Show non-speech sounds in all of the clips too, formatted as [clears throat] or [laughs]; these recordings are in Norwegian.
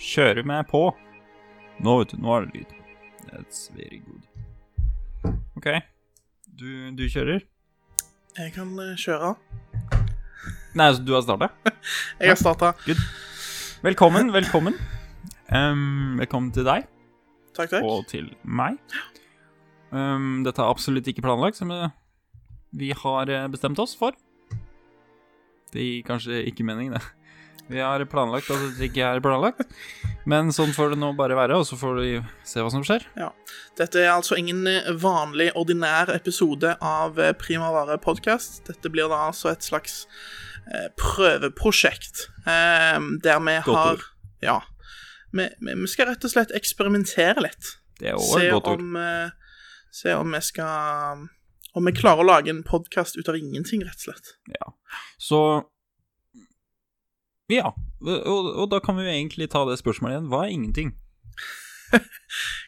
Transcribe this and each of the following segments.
kjører meg på. Nå, vet du, nå er det lyd. That's very good. OK. Du, du kjører? Jeg kan eh, kjøre. Nei, altså, du har starta? Jeg har starta. Velkommen, velkommen. Ehm, velkommen til deg Takk, takk. og til meg. Ehm, dette er absolutt ikke planlagt, som eh, vi har eh, bestemt oss for. Det gir kanskje ikke mening, det. Vi har planlagt at det ikke er planlagt, men sånn får det nå bare være, og så får vi se hva som skjer. Dette er altså ingen eh, vanlig, ordinær episode av eh, Primavare podkast. Dette blir da altså et slags eh, prøveprosjekt eh, der vi ord. har Ja. Vi, vi vi skal rett og slett eksperimentere litt. Det er også Se et godt ord. om, eh, se om vi skal Om vi klarer å lage en podkast ut av ingenting, rett og slett. Så Ja. Og, og da kan vi jo egentlig ta det spørsmålet igjen. Hva er ingenting?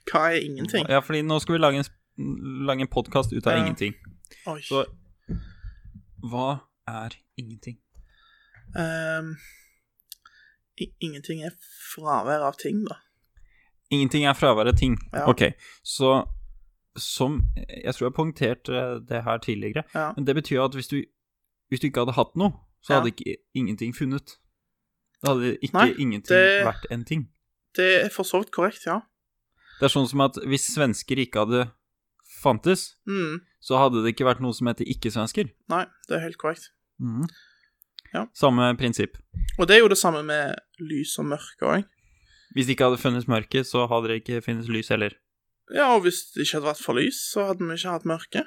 Hva er ingenting? Ja, fordi nå skal vi lage en, sp- lage en podkast ut av Ja. ingenting. Oi. Så Hva er ingenting? Ehm, i- ingenting er fravær av ting, da. Ingenting er fravær av ting. Ja. Ok, så som Jeg tror jeg poengterte det her tidligere, Ja. men det betyr at hvis du, hvis du ikke hadde hatt noe, så Ja. hadde ikke ingenting funnet. Da hadde ikke Nei, ingenting det- vært en ting. Det er for så vidt korrekt, ja. Det er sånn som at hvis svensker ikke hadde fantes, Mm, så hadde det ikke vært noe som heter ikke-svensker. nei, det er helt korrekt. Mhm. Mm. Ja. Samme prinsipp. Og det er jo det samme med lys og mørke òg. Hvis det ikke hadde funnes mørke, så hadde det ikke funnes lys heller. Ja, og hvis det ikke hadde vært for lys, så hadde vi ikke hatt mørke.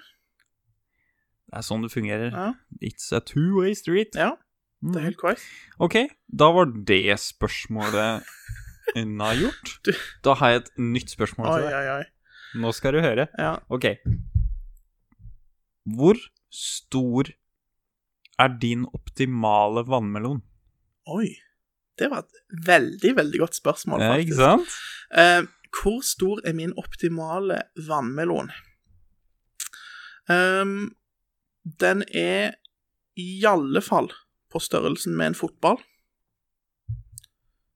Det er sånn det fungerer. Ja, It's a two-way street. ja det Mhm. er helt korrekt. Ok, da var det spørsmålet [laughs] unnagjort. Du- Da har jeg et nytt spørsmål Oi, til deg. oi, oi. Nå skal du høre. Ja. Ok. Hvor stor er din optimale vannmelon? Oi. Det var et veldig, veldig godt spørsmål, Ja, faktisk. ikke sant? Eh, hvor stor er min optimale vannmelon? Ehm, den er i alle fall på størrelsen med en fotball.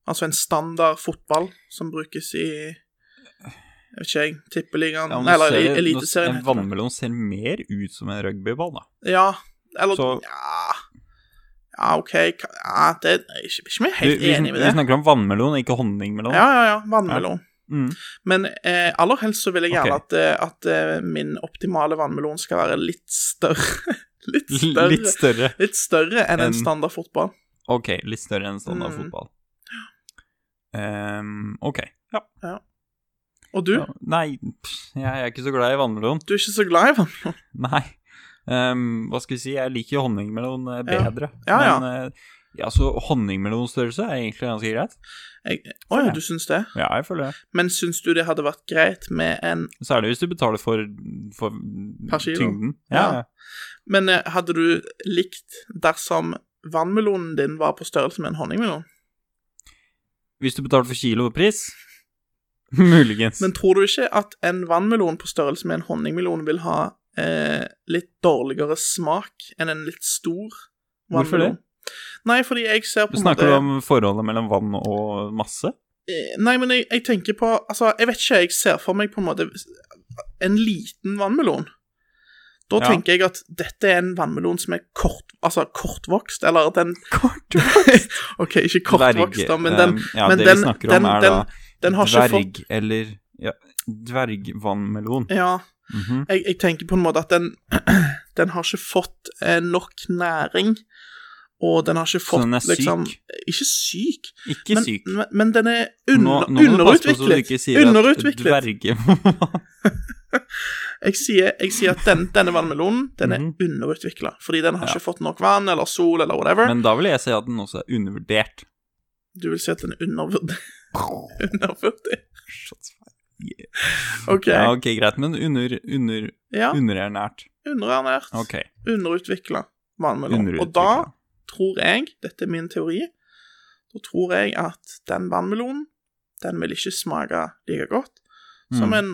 Altså en standard fotball som brukes i Jeg vet ikke, jeg. Tippeligaen Ja, men Eller ser- i- nå- Eliteserien. En heter det. vannmelon ser mer ut som en rugbyball, da. Ja, eller Så- ja. ja, OK ka- ja, Det er ikke, ikke vi er helt Vi- vi, enige med Vi det. snakker om vannmelon, ikke honningmelon. Ja, ja, ja. Vannmelon. Mm. Men eh, aller helst så vil jeg gjerne Ok. at, eh, at eh, min optimale vannmelon skal være litt større. [laughs] litt større. Litt litt, større. større enn Enn- en standard fotball. Ok, litt større enn standard Mm. fotball. Ehm, ok. Ja. Og du? Ja, Nei, pff, jeg er ikke så glad i vannmelon. [laughs] Du er ikke så glad i vann? Nei. Ehm, hva skal vi si, jeg liker jo honningmelon eh, Ja. bedre. Ja, ja. Men eh, ja, så honningmelonstørrelse er egentlig ganske greit. Jeg- Å ja, Ja. du syns det? Ja, jeg føler det. Men syns du det hadde vært greit med en Særlig hvis du betaler for, for Per kilo. tyngden. Ja. Men eh, hadde du likt dersom vannmelonen din var på størrelse med en honningmelon? Hvis du betaler for kilopris, [laughs] muligens. Men tror du ikke at en vannmelon på størrelse med en honningmelon vil ha eh, litt dårligere smak enn en litt stor Hvorfor vannmelon? Nei, fordi jeg ser på en Snakker du måte- om forholdet mellom vann og masse? Eh, Nei, men jeg, jeg tenker på Altså, jeg vet ikke, jeg ser for meg på en måte en liten vannmelon. Da Ja. tenker jeg at dette er en vannmelon som er kort, altså kortvokst, eller den OK, ikke kortvokst, da, men den, eh, ja, men det den- vi snakker den- om, er den- da den har ikke dverg fått eller ja, dvergvannmelon. Ja, Mhm. jeg, jeg tenker på en måte at den [clears throat] Den har ikke fått eh, nok næring, og den har ikke Så fått den er syk. liksom Ikke syk, Ikke men, syk. Men, men den er nå, under, nå må du passe på så du underutviklet. ikke sier Underutviklet. at dverge [laughs] Jeg sier, jeg sier at den, denne vannmelonen den er Mhm. underutvikla, fordi den har Ja. ikke fått nok vann eller sol eller whatever. Men da vil jeg si at den også er undervurdert. Du vil si at den er undervurd- [laughs] undervurdert? Shots fired. OK. Ja, Ja, ok, greit, men under, under, underernært. underernært, Ok, underutvikla vannmelon. Og underutviklet. da tror jeg, dette er min teori, da tror jeg at den vannmelonen, den vil ikke smake like godt som Mm. en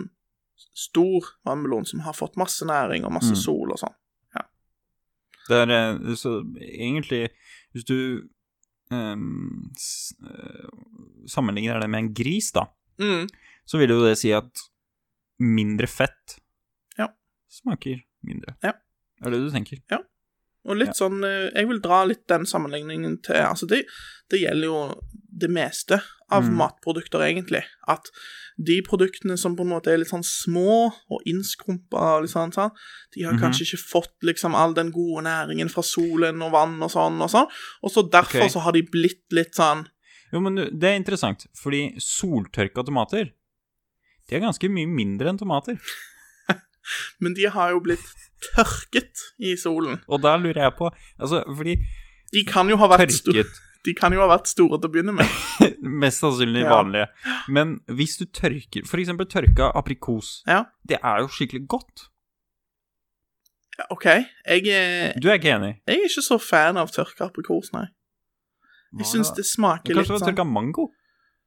stor vannmelon som har fått masse næring og masse Mm. sol og sånn. Det er, eh, så egentlig, hvis du ehm, s- eh, sammenligner det med en gris, da, Mm. så vil jo det si at mindre fett Ja. smaker mindre. Ja. Det er det du tenker. Og litt sånn eh, Jeg vil dra litt den sammenligningen til Altså, det, det gjelder jo det meste av Mm. matprodukter, egentlig. At de produktene som på en måte er litt sånn små og innskrumpa og litt sånn, sånn de har Mhm. kanskje ikke fått liksom all den gode næringen fra solen og vann og sånn og sånn, og så derfor Ok. så har de blitt litt sånn Jo, men du- det er interessant, fordi soltørka tomater De er ganske mye mindre enn tomater. Men de har jo blitt tørket i solen. Og da lurer jeg på Altså, fordi De kan jo ha vært, sto tørket [laughs] de kan jo ha vært store til å begynne med. Mest sannsynlig Ja. vanlige. Men hvis du tørker For eksempel tørka aprikos. Ja. Det er jo skikkelig godt. Ja, OK, jeg er, Du er ikke enig? jeg er ikke så fan av tørka aprikos, nei. Jeg syns det smaker litt Kanskje det var sånn tørka mango?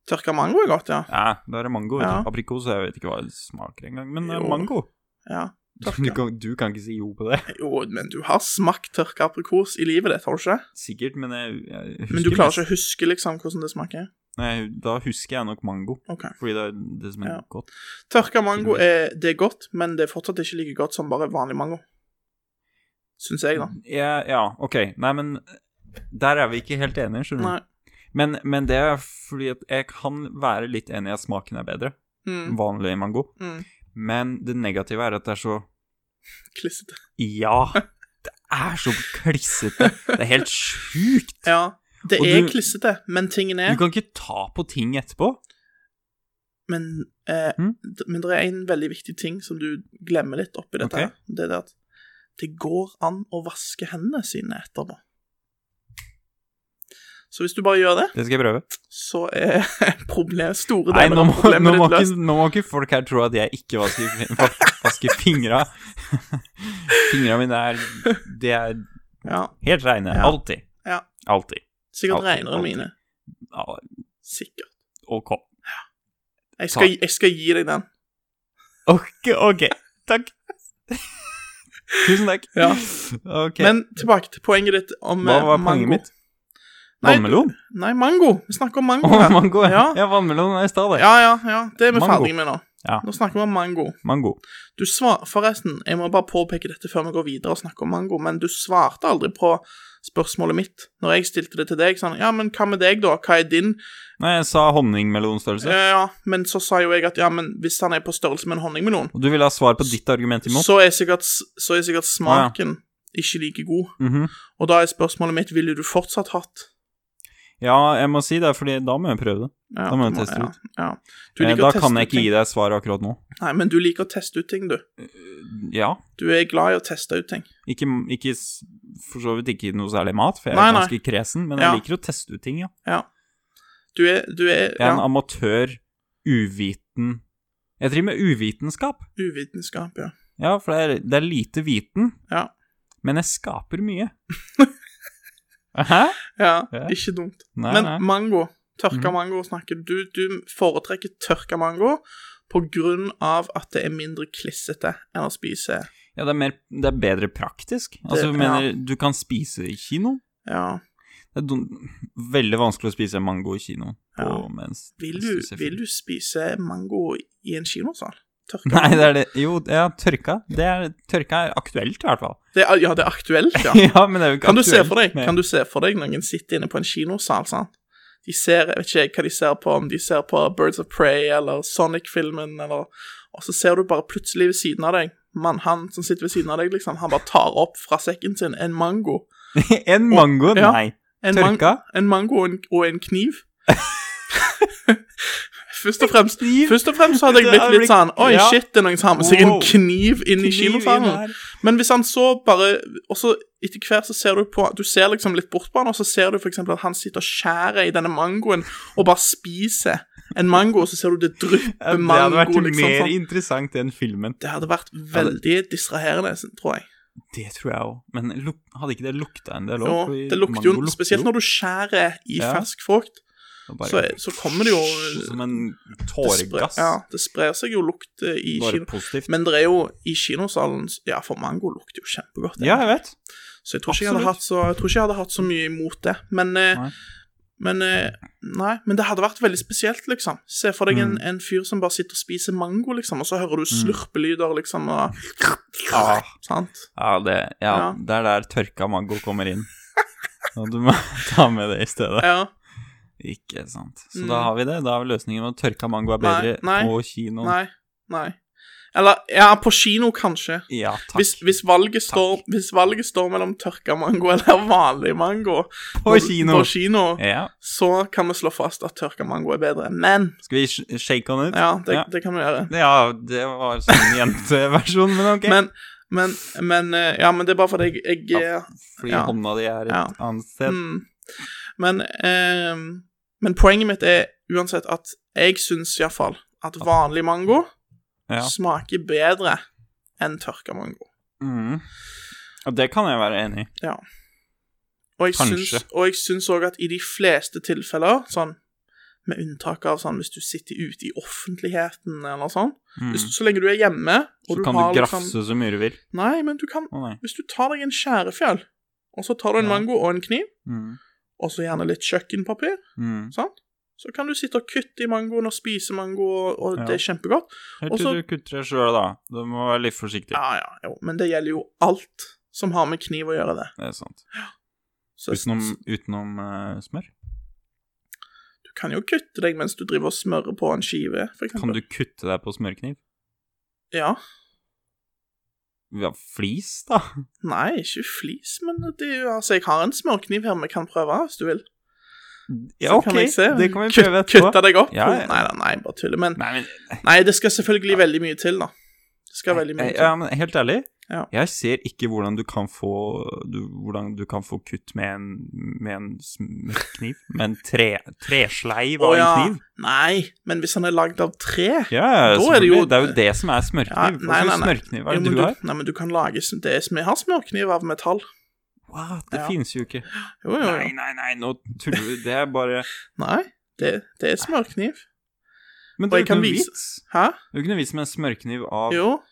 Tørka mango er godt, ja. Ja, da er det mango. Ja. Aprikos jeg vet ikke hva det smaker engang, men det er Jo. mango. ja. Du Tørka. kan, du kan ikke si jo på det. Jo, men du har smakt tørka aprikos i livet ditt, har du ikke? [laughs] Sikkert, men jeg, jeg husker Men du klarer mest- ikke å huske liksom hvordan det smaker? Nei, da husker jeg nok mango. Ok. Fordi det er det som er Ja. godt. Tørka mango er, det er godt, men det er fortsatt ikke like godt som bare vanlig mango. Syns jeg, da. Ja, ja, ok. Nei, men der er vi ikke helt enige, Nei. skjønner du. Men, men det er fordi at jeg kan være litt enig i at smaken er bedre enn Mm, vanlig mango. mm. Men det negative er at det er så Klissete. [laughs] Ja! Det er så klissete. Det er helt sjukt. Ja, det Og er du- klissete, men tingen Du er kan ikke ta på ting etterpå. men, eh, Mm. d- men det er en veldig viktig ting som du glemmer litt oppi dette. Ok. her. Det er det at det går an å vaske hendene sine etterpå. Så hvis du bare gjør det, Det skal jeg prøve. så er [laughs] problem, store Nei, deler nå av må, nå, problemet må ditt løst. ikke, nå må ikke folk her tro at jeg ikke vasker, fin- va- vasker fingra. [laughs] Fingra mine er De er Ja, helt reine. Ja. Alltid. Ja. Alltid. sikkert Alltid, regner det alltid. mine. Ja, Sikkert. OK. Jeg skal, jeg skal gi deg den. Ok, ok. Takk. [laughs] Tusen takk. Ja. Ok. Men tilbake til poenget ditt om Hva eh, var mango. poenget mitt? Nei, Vannmelon? Nei, mango. Vi snakker [laughs] om mango Å, her. mango. Ja, Ja. ja vannmelon er i stad, det. Ja, ja, ja. Det er vi Mango. ferdige med nå. Ja. Nå snakker vi om mango. Mango. Du svar, Forresten, jeg må bare påpeke dette før vi går videre og snakker om mango, men du svarte aldri på spørsmålet mitt når jeg stilte det til deg. Sånn, ja, men hva med deg, da? Hva er din? Eh, Nei, jeg sa honningmelonstørrelse. Ja, ja, men så sa jo jeg at ja, men hvis han er på størrelse med en honningmelon, Og du ville ha svar på ditt argument imot? så er sikkert, så er sikkert smaken ikke like god. Mhm. Og da er spørsmålet mitt ville du fortsatt hatt. Ja, jeg må si det, fordi da må jeg prøve det. Ja, Da må du jeg teste ja, ut. Ja. Du Eh, liker Da å teste kan jeg ikke ut gi ting. deg svar akkurat nå. Nei, men du liker å teste ut ting, du. Ja. Du er glad i å teste ut ting. Ikke, ikke s- for så vidt ikke noe særlig mat, for jeg er Nei, nei. ganske kresen, men Ja. jeg liker å teste ut ting, ja. Ja. Du er, du er Jeg er en ja, amatør, uviten Jeg driver med uvitenskap. uvitenskap, ja. Ja, for det er, det er lite viten, Ja. men jeg skaper [laughs] mye. Hæ? Ja, Ja. ikke dumt. Nei, Men nei. mango, tørka Mhm. mango snakker du Du foretrekker tørka mango på grunn av at det er mindre klissete enn å spise Ja, det er, mer, det er bedre praktisk. Altså, du Det- mener du kan spise i kino? Ja. Det er dum, veldig vanskelig å spise mango i kino. På, Ja. mens, Vil mens du, ser vil film. du spise mango i en kinosal? [laughs] Tørka Nei, mango? det er det Jo, ja, tørka. Det er, tørka er aktuelt, i hvert fall. Det er, ja, det er aktuelt, [laughs] ja. ja, men det er jo ikke Kan du se aktuelt for deg med- Kan du se for deg noen sitte inne på en kinosal, sant? De ser, jeg vet ikke hva de ser på, om de ser på Birds of Prey eller Sonic-filmen, eller Og så ser du bare plutselig ved siden av deg mann, Han som sitter ved siden av deg, liksom, han bare tar opp fra sekken sin en mango. [laughs] En mango? Ja. Nei. En man- Tørka? En mango og en, og [laughs] en kniv. først, og fremst, Kniv? først og fremst så hadde jeg Det blitt hadde litt sånn blitt- Oi, ja. shit, det er noen som har med seg en Wow. kniv inn i Kniv inn kinosalen. her. Men hvis han så bare Og så etter hvert så ser du på Du ser liksom litt bort på han, og så ser du for eksempel at han sitter og skjærer i denne mangoen og bare spiser en mango, og så ser du det Ja, drypper Det hadde vært mango, liksom. mer Sånn. interessant enn filmen. Det hadde vært veldig distraherende, tror jeg. Det tror jeg òg. Men luk hadde ikke det lukta en del òg? Og det lukter jo Spesielt når du skjærer i Ja. fersk frukt. Og bare- Så, så kommer det jo [laughs] Som en det spre- tåregass. Ja, det sprer seg jo lukt eh, i Bare kino. positivt. Men det er jo i kinosalen Ja, for mango lukter jo kjempegodt. ja, jeg vet. Så jeg tror, ikke jeg, hadde absolutt. hatt så jeg tror ikke jeg hadde hatt så mye imot det. Men eh, Nei. Men eh, nei, men det hadde vært veldig spesielt, liksom. Se for deg Mm. en, en fyr som bare sitter og spiser mango, liksom, og så hører du slurpelyder, [laughs] liksom, og Ah. Sant? Ja, det, ja, Ja. det er der tørka mango kommer inn. [laughs] Og du må [laughs] ta med det i stedet. Ja. Ikke sant. Så Mm. da har vi det. Da er løsningen med at tørka mango er Nei, bedre nei, på kino. Nei. Nei. Eller ja, på kino, kanskje. Ja, takk. Hvis, hvis, valget står, hvis valget står mellom tørka mango eller vanlig mango på kino! på kino Ja. så kan vi slå fast at tørka mango er bedre. Men Skal vi sh- shake on it? Ja, det, Ja. det kan vi gjøre. Ja, det var sånn jenteversjon, men ok. Men, men, men eh, Ja, men det er bare fordi jeg, jeg eh, Fordi ja. hånda di er et Ja. annet sted. Mm. Men, eh, men poenget mitt er uansett at jeg syns iallfall at vanlig mango Ja. smaker bedre enn tørka mango. Mm. Og det kan jeg være enig i. Og jeg Kanskje. syns- og jeg syns òg at i de fleste tilfeller, sånn med unntak av sånn hvis du sitter ute i offentligheten eller sånn Mm. hvis, Så lenge du er hjemme Så og du kan har du grafse liksom så mye du vil. Nei, men du kan Å nei. Hvis du tar deg en skjærefjøl, og så tar du en Ja. mango og en kniv, Mm. og så gjerne litt kjøkkenpapir, Mm. sant? Så kan du sitte og kutte i mangoen og spise mango, og, og Ja. det er kjempegodt. Helt Og til så- du kutter deg sjøl, da. Du må være litt forsiktig. Ja, ja, jo, men det gjelder jo alt som har med kniv å gjøre det. Det er sant. Så Utenom, utenom eh, smør. du kan jo kutte deg mens du driver og smører på en skive, for Kan eksempel. du kutte deg på smørkniv? Ja. Ja, flis, da. Nei, ikke flis, men det er jo Altså, jeg har en smørkniv her vi kan prøve, hvis du vil. Ja, Så ok. kan jeg se. Det kan vi Kut- prøve etterpå. Kutte deg opp? Ja, ja. Nei da, nei, bare tuller. Men Nei, men, nei, det skal selvfølgelig veldig mye til, da. Det skal veldig mye Eh, til. ja, men helt ærlig, Ja. jeg ser ikke hvordan du kan få du, Hvordan du kan få kutt med en, med en smørkniv. Med en tre, tresleiv av Å, ja. en kniv. Nei, men hvis han er lagd av tre Ja, ja, Da er det jo- selvfølgelig. det er jo det som er Ja, smørkniv. Hva nei, nei, slags nei. smørkniv er Jo, det men du har? Nei, men du kan lage sm- det er sm- Jeg har smørkniv av metall. Wow, det Ja. finnes jo ikke. Jo, jo, Nei, jo. nei, nei, nå tuller du. Det er bare Nei, det, det er smørkniv. Men Og det er jo ikke jeg kan noe vise- vits. Hæ? Det er jo ikke noe vits med en smørkniv av Jo.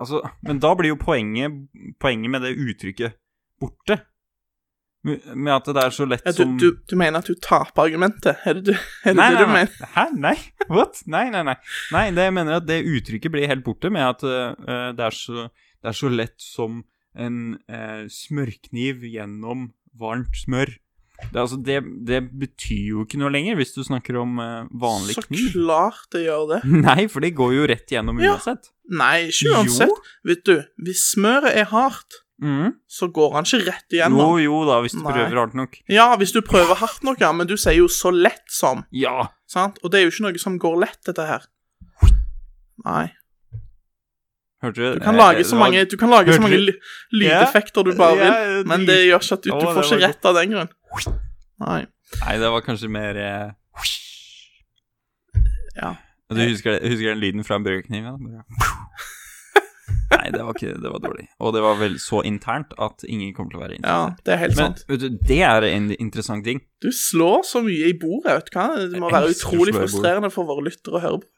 Altså, men da blir jo poenget, poenget med det uttrykket borte. Med med at det er så lett Ja, du, som du, du mener at du taper argumentet? Er det, du, er det Nei, det nei, du nei. mener? Hæ? Nei? [laughs] What? Nei, nei, nei. Nei, det jeg mener at det uttrykket blir helt borte med at eh, det, er så, det er så lett som en eh, smørkniv gjennom varmt smør. Det, er altså, det, det betyr jo ikke noe lenger hvis du snakker om eh, vanlig Så kniv. klart det gjør det. [laughs] Nei, for det går jo rett gjennom Ja. uansett. Nei, ikke uansett. Vet du, hvis smøret er hardt, Mhm. så går han ikke rett Jo, igjennom. jo da, hvis du Nei. prøver hardt nok. Ja, hvis du prøver hardt nok, ja, men du sier jo 'så lett som', Ja. sant? Og det er jo ikke noe som går lett, dette her. Nei. Hørte du? Du kan Eh, lage det så var- mange, du kan lage Hørte så mange du? ly- lydeffekter du bare vil, Ja, men de- det gjør ikke at du, Å, du det får ikke var rett av den grunn. Nei. Nei, det var kanskje mer eh, Ja. Du husker, husker den lyden fra en burgerkniv? Ja? [laughs] Bare- Nei, det var ikke Det var dårlig. Og det var vel så internt at ingen kommer til å være Ja, interessert. det er helt Men sant. vet du, det er en interessant ting. Du slår så mye i bordet, vet du hva? Det må Jeg være elsker å slå i utrolig bordet. frustrerende for våre lyttere å høre på.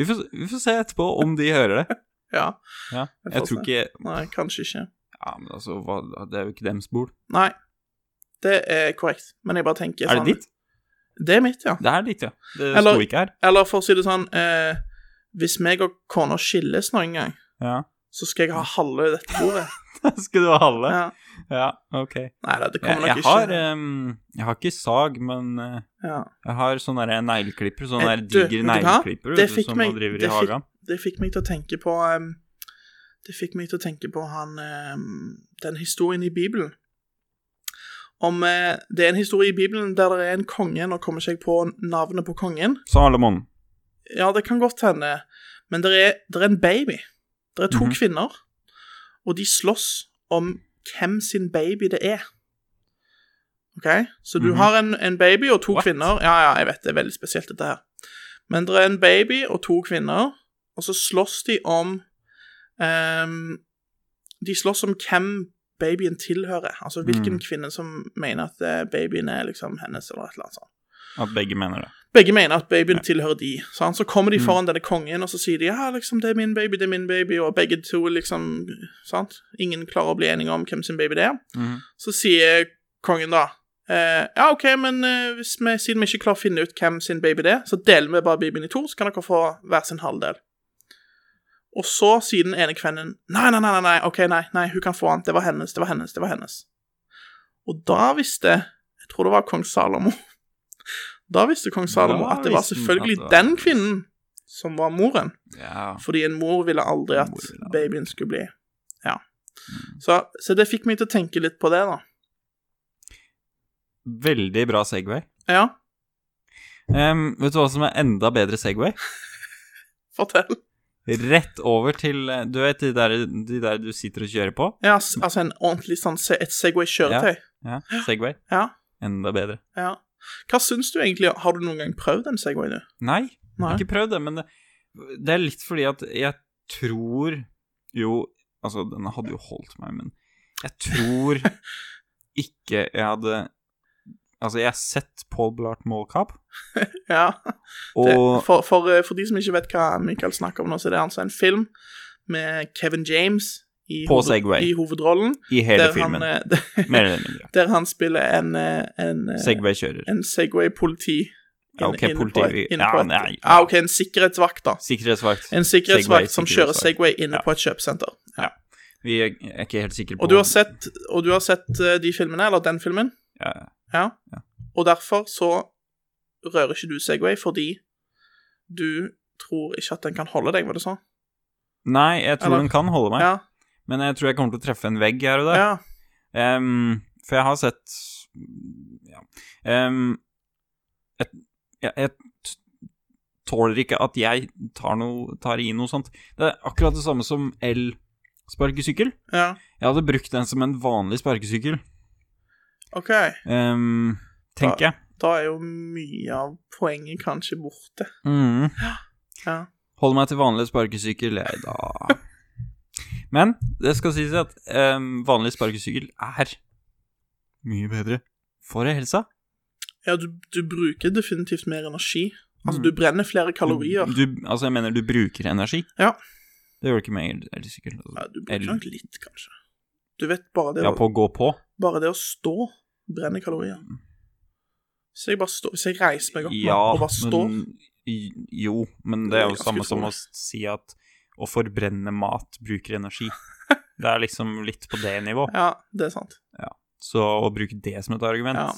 Vi får, vi får se etterpå om de hører det. [laughs] Ja. Ja, Vi får jeg tror se. ikke Nei, kanskje ikke. Ja, men altså, hva, det er jo ikke deres bord. Nei. Det er korrekt, men jeg bare tenker Er det sånn- ditt? Det er mitt, ja. Det er ditt, ja. Det Eller- sto ikke her. [laughs] Eller for å si det sånn eh, Hvis meg og kona skilles noen gang, Ja. så skal jeg ha halve dette bordet. Skulle du ha halve? Ja. Ja, ok. Nei da, det Jeg, kommer jeg, nok ikke. har, eh, em, jeg har ikke sag, men eh, ja. Jeg har sånne der negleklipper, sånne Eh, der du, digre vet du hva? negleklipper Det vet du, fikk som meg- man driver i det fikk- hagen. Det fikk meg til å tenke på ehm, Det fikk meg til å tenke på han ehm, Den historien i Bibelen. Om eh, Det er en historie i Bibelen der det er en konge Nå kommer ikke jeg på navnet på kongen. Salomon. Ja, det kan godt hende. Men det er, der er en baby. Det er to Mhm. kvinner, og de slåss om hvem sin baby det er. OK? Så du Mhm. har en, en baby og to What? kvinner. Ja, ja, jeg vet det er veldig spesielt, dette her. Men det er en baby og to kvinner, og så slåss de om ehm, De slåss om hvem babyen tilhører. Altså hvilken Mm. kvinne som mener at eh, babyen er liksom hennes, eller et eller annet sånt. At begge mener det. Begge mener at babyen tilhører de. Sant? Så kommer de Mm. foran denne kongen, og så sier de ja, liksom, det er min baby, det er min baby, og begge to liksom Mhm. sant? Ingen klarer å bli enige om hvem sin baby det er. Så sier kongen da Eh, ja, OK, men eh, hvis vi, siden vi ikke klarer å finne ut hvem sin baby det er, så deler vi bare babyen i to, så kan dere få hver sin halvdel. Og så sier den ene kvennen nei, nei, nei, nei, nei, ok, nei, nei, hun kan få han, det var hennes, det var hennes, det var hennes. Og da visste, jeg tror det var kong Salomo, [laughs] da visste kong Salomo Da at det var visste han selvfølgelig at det var- den kvinnen som var moren. Ja. Fordi en mor ville aldri En at mor ville aldri. Mm. babyen skulle bli. Ja. Så, så det fikk meg til å tenke litt på det, da. Veldig bra Segway. Ja, Em, vet du hva som er enda bedre Segway? fortell. Rett over til eh, Du vet de der, de der du sitter og kjører på? Ja, s- altså en ordentlig sånn se- et Segway-kjøretøy. Ja, Segway. Ja. Enda bedre. ja. Hva syns du egentlig? Har du noen gang prøvd en Segway, du? Nei, jeg Nei. har ikke prøvd det, men det, det er litt fordi at jeg tror Jo, altså, den hadde jo holdt meg, men jeg tror [laughs] ikke jeg hadde Altså, jeg har sett Paul Blart Mall Cop, Ja. Det, og for, for, eh, for de som ikke vet hva Michael snakker om nå, så er det altså en film med Kevin James i, På Segway. i hovedrollen. i hele der filmen, Han, eh, [laughs] mer eller mindre. der han spiller en, eh, en eh, Segway-kjører. en Segway-politi. Ja, inn- ok, inne på- politi- inne på ja, et- nei. Ja, OK, en sikkerhetsvakt, da. Sikkerhetsvakt. En sikkerhetsvakt Segway, som kjører sikkerhetsvakt. Segway inne Ja. på et kjøpesenter. Vi er er ikke helt sikre på Og du har sett, og du har sett eh, de filmene, eller den filmen, ja, ja. og derfor så rører ikke du Segway fordi du tror ikke at den kan holde deg, var det sånn? Nei, jeg tror Eller- den kan holde meg, Ja. men jeg tror jeg kommer til å treffe en vegg her og der. ja. Ehm, for jeg har sett ja. Ehm, et, jeg, jeg t- tåler ikke at jeg tar, noe- tar i noe sånt. Det er akkurat det samme som el-sparkesykkel. ja. Jeg hadde brukt den som en vanlig sparkesykkel, OK. ehm, tenker jeg. Da er jo mye av poenget kanskje borte. Mhm. Ja. Holder meg til vanlig sparkesykkel, jeg, da. Men det skal sies at ehm, vanlig sparkesykkel er mye bedre for helsa. Ja, du, du bruker definitivt mer energi. Altså, Mm. du brenner flere kalorier. Du, du, altså, jeg mener du bruker energi. Ja. Det gjør du ikke med el- elsykkel. Ja, Altså. du Eller- bruker nok litt, kanskje. Du vet, bare det, Ja, på å gå på. å, bare det å stå brenner kalorier. Hvis jeg bare står, hvis jeg reiser meg opp nå Ja, og bare står men i- Jo, men det er jo Det er samme ganske som å utrolig. si at å forbrenne mat bruker energi. [laughs] Det er liksom litt på det nivå. Ja, det er sant. Så å bruke det som et argument, Ja.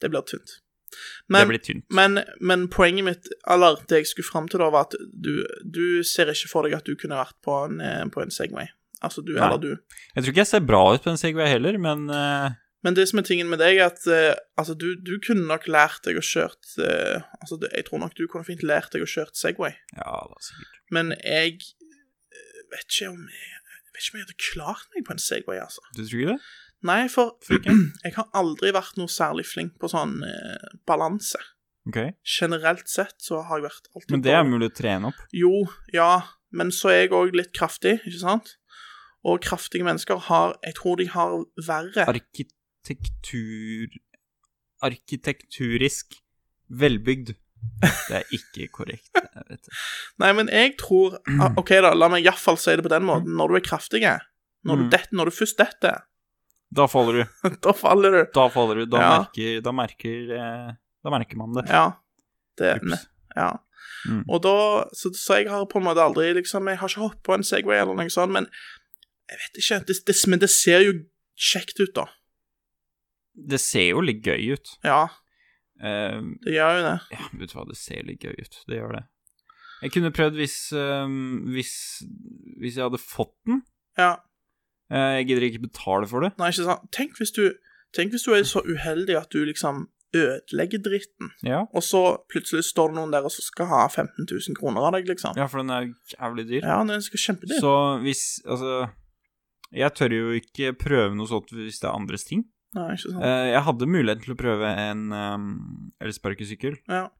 Det blir tynt. det Men, blir tynt. men, men poenget mitt, eller det jeg skulle fram til da, var at du, du ser ikke for deg at du kunne vært på en, eh, på en Segway. Altså du, Nei. eller du. Jeg tror ikke jeg ser bra ut på en Segway heller, men eh, Men det som er tingen med deg, er at eh, altså, du, du kunne nok lært deg å kjørt eh, Altså, det- jeg tror nok du kunne fint lært deg å kjørt Segway. ja da, sikkert. Men jeg eh, vet ikke om jeg, jeg vet ikke om jeg hadde klart meg på en Segway, altså. Du tror ikke det? Nei, [clears throat] for Tror ikke. [clears throat] jeg har aldri vært noe særlig flink på sånn eh, balanse. Ok. Generelt sett så har jeg vært alltid Men det er dårlig. mulig å trene opp. Jo, ja, men så er jeg òg litt kraftig, ikke sant? Og kraftige mennesker har Jeg tror de har verre Arkitektur... Arkitekturisk velbygd. Det er ikke korrekt. Jeg vet det. Nei, men jeg tror Mm. ah, OK, da, la meg iallfall si det på den måten. Når du er kraftig, eh, når du, Mm. det, når du først detter, [laughs] Da faller du. da faller du. Da faller du. Da Ja. merker Da merker, eh, da merker man det. Ja. Det, Ups. ja. Mm. Og da så, så jeg har på en måte aldri liksom Jeg har ikke hoppet på en Segway eller noe sånt, men jeg vet ikke. Det, det, men det ser jo kjekt ut, da. Det ser jo litt gøy ut. Ja, Eh, det gjør jo det. ja, vet du hva, det ser litt gøy ut. Det gjør det. Jeg kunne prøvd hvis eh, Hvis, hvis jeg hadde fått den. Ja. Eh, jeg gidder ikke betale for det. Nei, ikke sant. Tenk hvis du Tenk hvis du er så uheldig at du liksom ødelegger dritten, Ja, og så plutselig står det noen der og så skal ha 15 000 kroner av deg, liksom. ja for den er jo jævlig dyr. Ja, det skal kjempedyrt. Så hvis Altså, jeg tør jo ikke prøve noe sånt hvis det er andres ting. Nei, ikke sant. Eh, jeg hadde muligheten til å prøve en um, elsparkesykkel, Ja.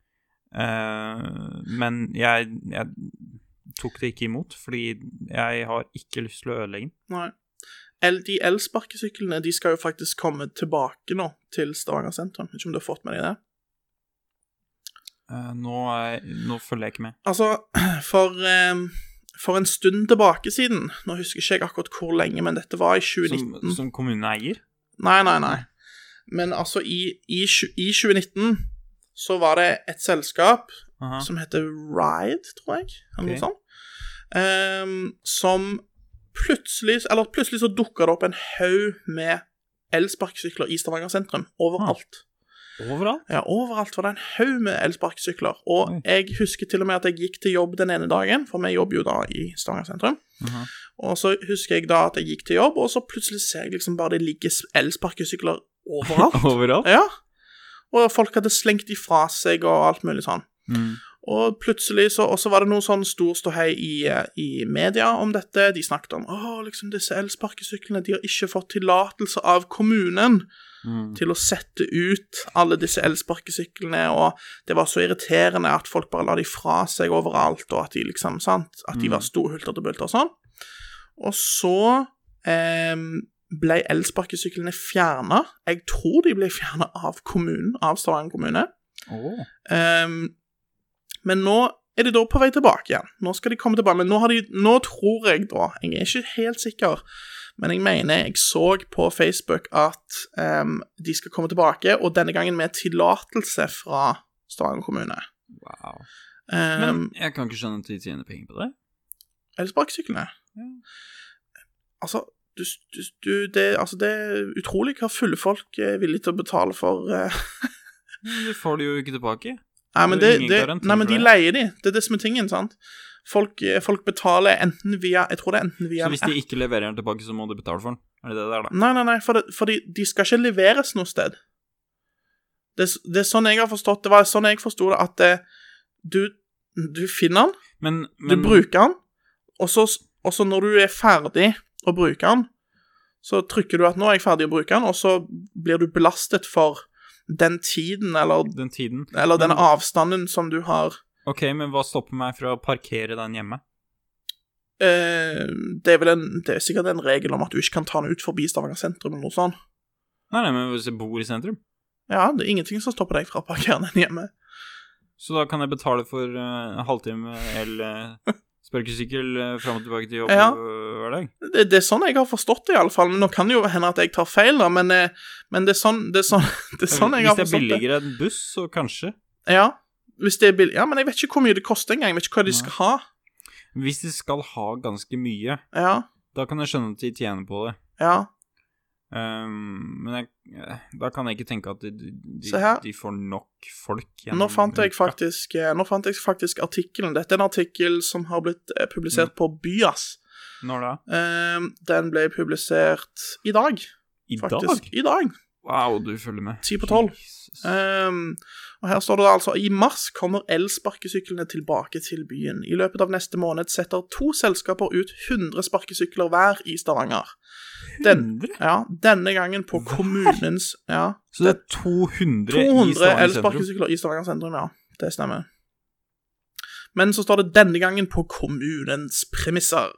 eh, men jeg, jeg tok det ikke imot, fordi jeg har ikke lyst til å ødelegge den. Nei. El, de elsparkesyklene de skal jo faktisk komme tilbake nå til Stavanger sentrum. Vet ikke om du har fått med deg det? Eh, nå, er, nå følger jeg ikke med. Altså, [clears throat] for, eh, for en stund tilbake siden Nå husker ikke jeg akkurat hvor lenge, men dette var i Som, 2019. som kommuneeier? Nei, nei, nei. Men altså, i, i, tju- i 2019 så var det et selskap Aha. som heter Ride, tror jeg, eller Ok. noe sånt, ehm, som plutselig Eller plutselig så dukka det opp en haug med elsparkesykler i Stavanger sentrum. Overalt. Overalt? Ja, overalt var det en haug med elsparkesykler. Og Ah. Oi. jeg husker til og med at jeg gikk til jobb den ene dagen, for vi jobber jo da i Stavanger sentrum. Aha. Og så husker jeg da at jeg gikk til jobb, og så plutselig ser jeg liksom bare det ligger elsparkesykler overalt. [laughs] Overalt? ja. Og folk hadde slengt de fra seg og alt mulig sånn. Mm. Og plutselig så og så var det noe sånn stor ståhei i, eh, i media om dette. De snakket om å, liksom disse elsparkesyklene de har ikke fått tillatelse av kommunen Mm. til å sette ut alle disse elsparkesyklene, og det var så irriterende at folk bare la de fra seg overalt, og at de liksom, sant, at de var Mm. storhulter til bulter og sånn. Og så em, ble elsparkesyklene fjerna. Jeg tror de ble fjerna av kommunen, av Stavanger kommune. Åh. Ehm, men nå er de da på vei tilbake igjen. Nå skal de komme tilbake, men nå, har de, nå tror jeg da Jeg er ikke helt sikker, men jeg mener jeg så på Facebook at ehm, de skal komme tilbake, og denne gangen med tillatelse fra Stavanger kommune. Wow. Men Um, jeg kan ikke skjønne at de tjener penger på det. Elsparkesyklene. Ja. Altså, du, du, du det, altså, det er utrolig hva fulle folk eh, er villige til å betale for eh, Men Du får det jo ikke tilbake. Nei, men, Det er det, ingen det, garanti nei, men for de det. leier de. Det er det som er tingen, sant. Folk, eh, folk betaler enten via Jeg tror det er enten via Så hvis de ikke leverer den tilbake, så må du betale for den. Er det det der, da? Nei, nei, nei, for, det, for de, de skal ikke leveres noe sted. Det, er s- det er sånn jeg har forstått det. var sånn jeg forsto det, at eh, du, du finner den, Men, du men bruker den, og så, s- og så når du er ferdig å bruke den, så trykker du at 'nå er jeg ferdig å bruke den', og så blir du belastet for den tiden eller, den tiden eller den Men- avstanden som du har Ok, men hva stopper meg fra å parkere den hjemme? Eh, det, er vel en, det er sikkert en regel om at du ikke kan ta den ut forbi Stavanger sentrum eller noe sånt. Nei, nei, men hvis jeg bor i sentrum, Ja, det er ingenting som stopper deg fra å parkere den hjemme. så da kan jeg betale for eh, en halvtime el [laughs] uh, sparkesykkel uh, fram og tilbake til jobb Ja. eh, hver dag. Det, det er sånn jeg har forstått det, i alle fall. Men Nå kan det jo hende at jeg tar feil, da, men, eh, men det, er sånn, det, er sånn, [laughs] det er sånn jeg hvis har det er forstått det. billigere enn buss, så kanskje. Ja, hvis det er billig. Ja, men jeg vet ikke hvor mye det koster engang. Jeg vet ikke hva de Nei. skal ha. Hvis de skal ha ganske mye, Ja, da kan jeg skjønne at de tjener på det. ja. Ehm, men jeg, eh, da kan jeg ikke tenke at de, de, Se her. de får nok folk Nå fant jeg uka. faktisk, eh, nå fant jeg faktisk artikkelen. Dette er en artikkel som har blitt eh, Mm. publisert på Byas. Når da? Eh, den ble publisert i dag, I faktisk. dag? I dag. Wow, du følger med. Ti på tolv. Jesus. Ehm, og her står det da altså I mars kommer elsparkesyklene tilbake til byen. I løpet av neste måned setter to selskaper ut 100 sparkesykler hver i Stavanger. Den, 100? ja, denne gangen på Hver? kommunens [laughs] ja, Så det er 200, i 200 Stavanger sentrum? elsparkesykler i Stavanger sentrum, ja. Det stemmer. Men så står det 'denne gangen på kommunens premisser'.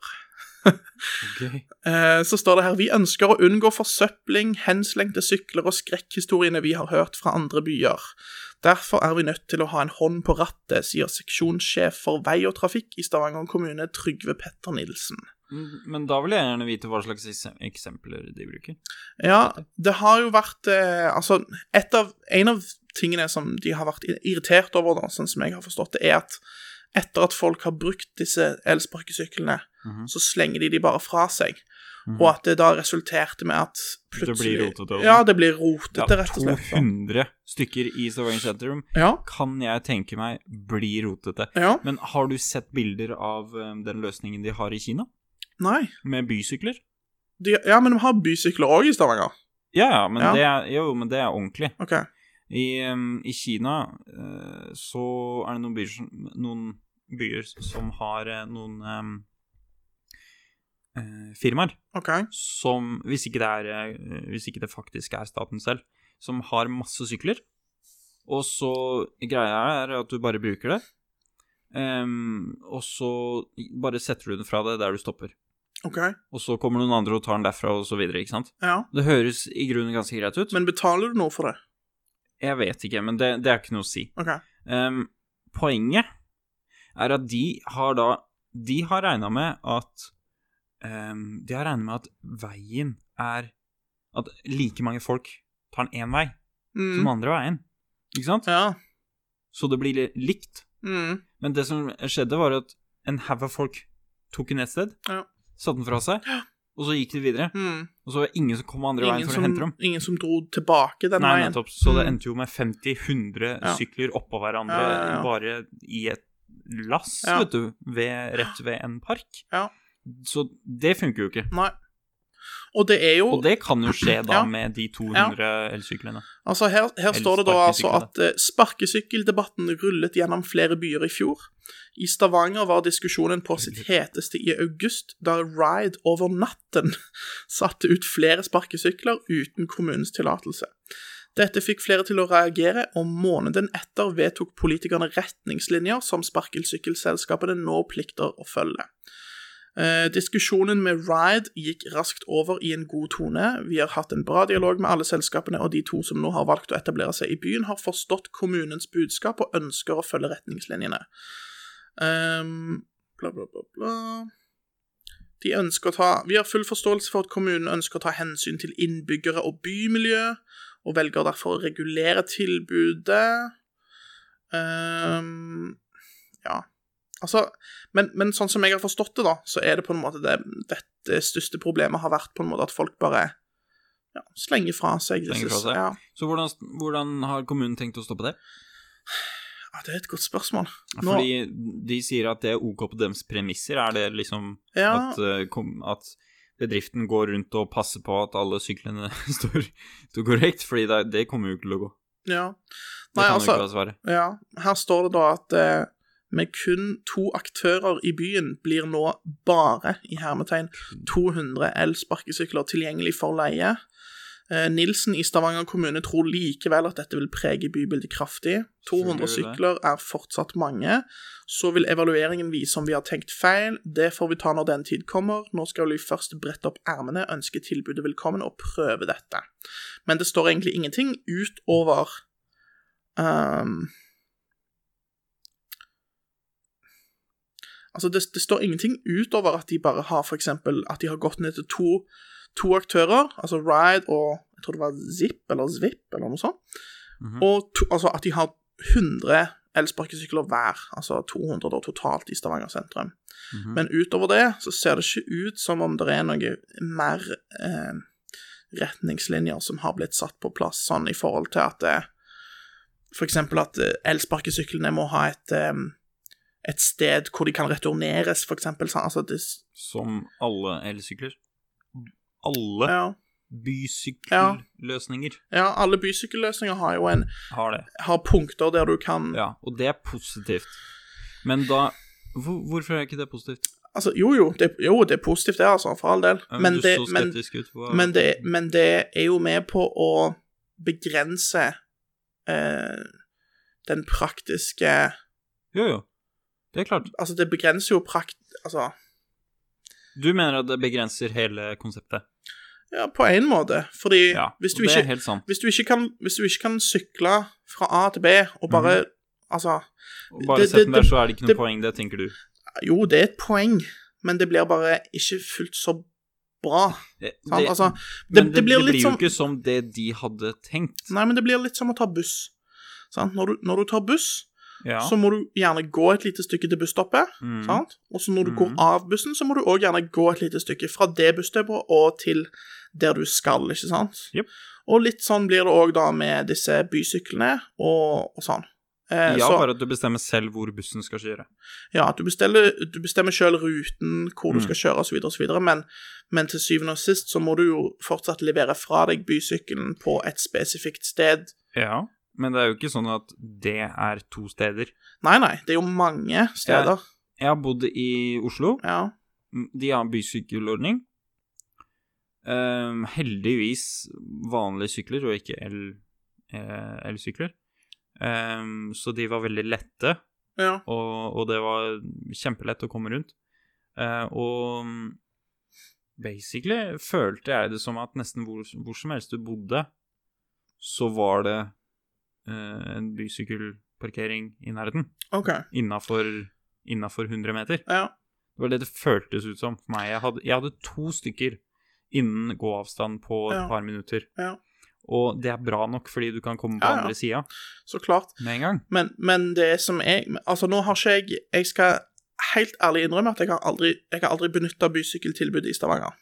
Ok. Eh, Så står det her Vi ønsker å unngå forsøpling, henslengte sykler og skrekkhistoriene vi har hørt fra andre byer. Derfor er vi nødt til å ha en hånd på rattet, sier seksjonssjef for vei og trafikk i Stavanger kommune, Trygve Petter Nilsen. Mm, Men da vil jeg gjerne vite hva slags ekse- eksempler de bruker. Ja, det har jo vært eh, Altså, et av, en av tingene som de har vært irritert over, da, sånn som jeg har forstått det, er at etter at folk har brukt disse elsparkesyklene, Mhm. så slenger de de bare fra seg. Mhm. Og at det da resulterte med at blir plutselig rotete, altså. Ja, det blir rotete, Ja, rett og slett. da. 200 stykker i Stavanger sentrum Ja, kan jeg tenke meg blir rotete. ja. Men har du sett bilder av eh, den løsningen de har i Kina? Nei. Med bysykler? De, ja, men vi har bysykler òg i Stavanger. Ja, ja, men, Ja. Det, er, jo, men det er ordentlig. OK. I, em, i Kina eh, så er det noen byer som, noen byer som har eh, noen em, eh, firmaer ok. som, hvis ikke, det er, eh, hvis ikke det faktisk er staten selv, som har masse sykler. Og så greia er at du bare bruker det. Em, og så bare setter du den fra deg der du stopper. ok, Og så kommer noen andre og tar den derfra, og så videre, ikke sant? ja. Det høres i grunnen ganske greit ut. Men betaler du noe for det? jeg vet ikke, men det, det er ikke noe å si. OK. Em, poenget er at de har da De har regna med at em, De har regna med at veien er At like mange folk tar den én vei, så Mm. den andre veien. Ikke sant? Ja. Så det blir li- likt. Mm. Men det som skjedde, var at en haug av folk tok den et sted, Ja. satte den fra seg, og så gikk de videre. Mm. Og så var det ingen som kom andre veien Ingen, for å hente som, dem. ingen som dro tilbake den Nei, veien. nettopp. Så det Mm. endte jo med 50-100 Ja. sykler oppå hverandre Ja, ja, ja. bare i et lass, Ja. vet du, ved, rett ved en park. Ja. Så det funker jo ikke. Nei. Og det er jo Og det kan jo skje da Ja. med de 200 elsyklene. Altså, her, her står det da altså sparkesykler, at eh, sparkesykkeldebatten rullet gjennom flere byer i fjor. I Stavanger var diskusjonen på sitt heteste i august, da Ride over natten [laughs] satte ut flere sparkesykler uten kommunens tillatelse. Dette fikk flere til å reagere, og måneden etter vedtok politikerne retningslinjer som sparkelsykkelselskapene nå plikter å følge. Eh, diskusjonen med Ride gikk raskt over i en god tone. Vi har hatt en bra dialog med alle selskapene, og de to som nå har valgt å etablere seg i byen, har forstått kommunens budskap og ønsker å følge retningslinjene. Ehm, bla, bla, bla, bla. De ønsker å ta Vi har full forståelse for at kommunen ønsker å ta hensyn til innbyggere og bymiljø, og velger derfor å regulere tilbudet. Ehm, ja. Altså, men, men sånn som jeg har forstått det, da, så er det på en måte det dette største problemet har vært på en måte at folk bare ja, slenger fra seg. Slenger disse- fra seg. Ja. Så hvordan, hvordan har kommunen tenkt å stoppe det? ja, det er et godt spørsmål. Nå- Fordi de sier at det er OK på deres premisser. Er det liksom Ja, at, eh, kom, at bedriften går rundt og passer på at alle syklene [laughs] står, står korrekt? Fordi det, det kommer jo ikke til å gå. ja. eh, Det Nei, kan jo altså, ikke være svaret. Ja, her står det da at eh, med kun to aktører i byen blir nå bare, i hermetegn, 200 elsparkesykler tilgjengelig for leie. Eh, Nilsen i Stavanger kommune tror likevel at dette vil prege bybildet kraftig. 200 Selvfølgelig sykler er fortsatt mange. Så vil evalueringen vise om vi har tenkt feil. Det får vi ta når den tid kommer. Nå skal vi først brette opp ermene, ønske tilbudet velkommen og prøve dette. Men det står egentlig ingenting utover ehm, Altså, det, det står ingenting utover at de bare har for eksempel at de har gått ned til to, to aktører, altså Ride og jeg tror det var Zip eller Zwipp eller noe sånt, Mhm. og to, altså at de har 100 elsparkesykler hver, altså 200 da totalt i Stavanger sentrum. Mhm. Men utover det så ser det ikke ut som om det er noe mer eh, retningslinjer som har blitt satt på plass, sånn i forhold til at eh, for eksempel at eh, elsparkesyklene må ha et, eh, et sted hvor de kan returneres, for eksempel. Sånn, altså, det, s- Som alle elsykler. Alle ja, bysykkelløsninger ja, alle bysykkelløsninger har jo en, har det. har punkter der du kan Ja, og det er positivt. Men da hvor, Hvorfor er ikke det positivt? Altså, jo, jo det, jo, det er positivt, det, altså, for all del, Ja, men du det, så men, skeptisk ut. Hva, Men det, men det er jo med på å begrense eh, den praktiske Jo, jo. Det er klart. Altså, det begrenser jo prakt... Altså, Du mener at det begrenser hele konseptet. ja, på én måte. Fordi Ja, hvis, du og det er ikke, helt sant. hvis, du ikke kan, hvis du ikke kan sykle fra A til B og bare Mhm. Altså, Og Bare det- sett det- den der, så er det ikke noe det- poeng, det tenker du. jo, det er et poeng, men det blir bare ikke fullt så bra. Det, Sant? det- altså, men det, det blir litt jo som- ikke som det de hadde tenkt. nei, men det blir litt som å ta buss. Sant? Når, du, når du tar buss, Ja. så må du gjerne gå et lite stykke til busstoppet. Mm. Sant? Og så når du Mhm. går av bussen, så må du òg gjerne gå et lite stykke fra det busstoppet og til der du skal, ikke sant? Jep. Og litt sånn blir det òg da med disse bysyklene og, og sånn. Eh, Ja, så, bare at du bestemmer selv hvor bussen skal kjøre. ja, du bestemmer, du bestemmer sjøl ruten, Mm. hvor du skal kjøre osv., osv., men, men til syvende og sist så må du jo fortsatt levere fra deg bysykkelen på et spesifikt sted. Ja, men det er jo ikke sånn at det er to steder. Nei, nei, det er jo mange steder. Jeg har bodd i Oslo. Ja. De har en bysykkelordning. Ehm, heldigvis vanlige sykler, og ikke el- eh, elsykler. Ehm, så de var veldig lette. ja. og, og det var kjempelett å komme rundt. Eh, og basically følte jeg det som at nesten hvor, hvor som helst du bodde, så var det eh, en bysykkelparkering i nærheten, OK. innafor 100 meter. Ja. Det var det det føltes ut som for meg. Jeg hadde, jeg hadde to stykker innen gåavstand på et Ja. par minutter. Ja. Og det er bra nok, fordi du kan komme på Ja, ja. andre sida Så klart. med en gang. Men, men det som jeg Altså, nå har ikke jeg Jeg skal helt ærlig innrømme at jeg har aldri, jeg har aldri benytta bysykkeltilbudet i Stavanger.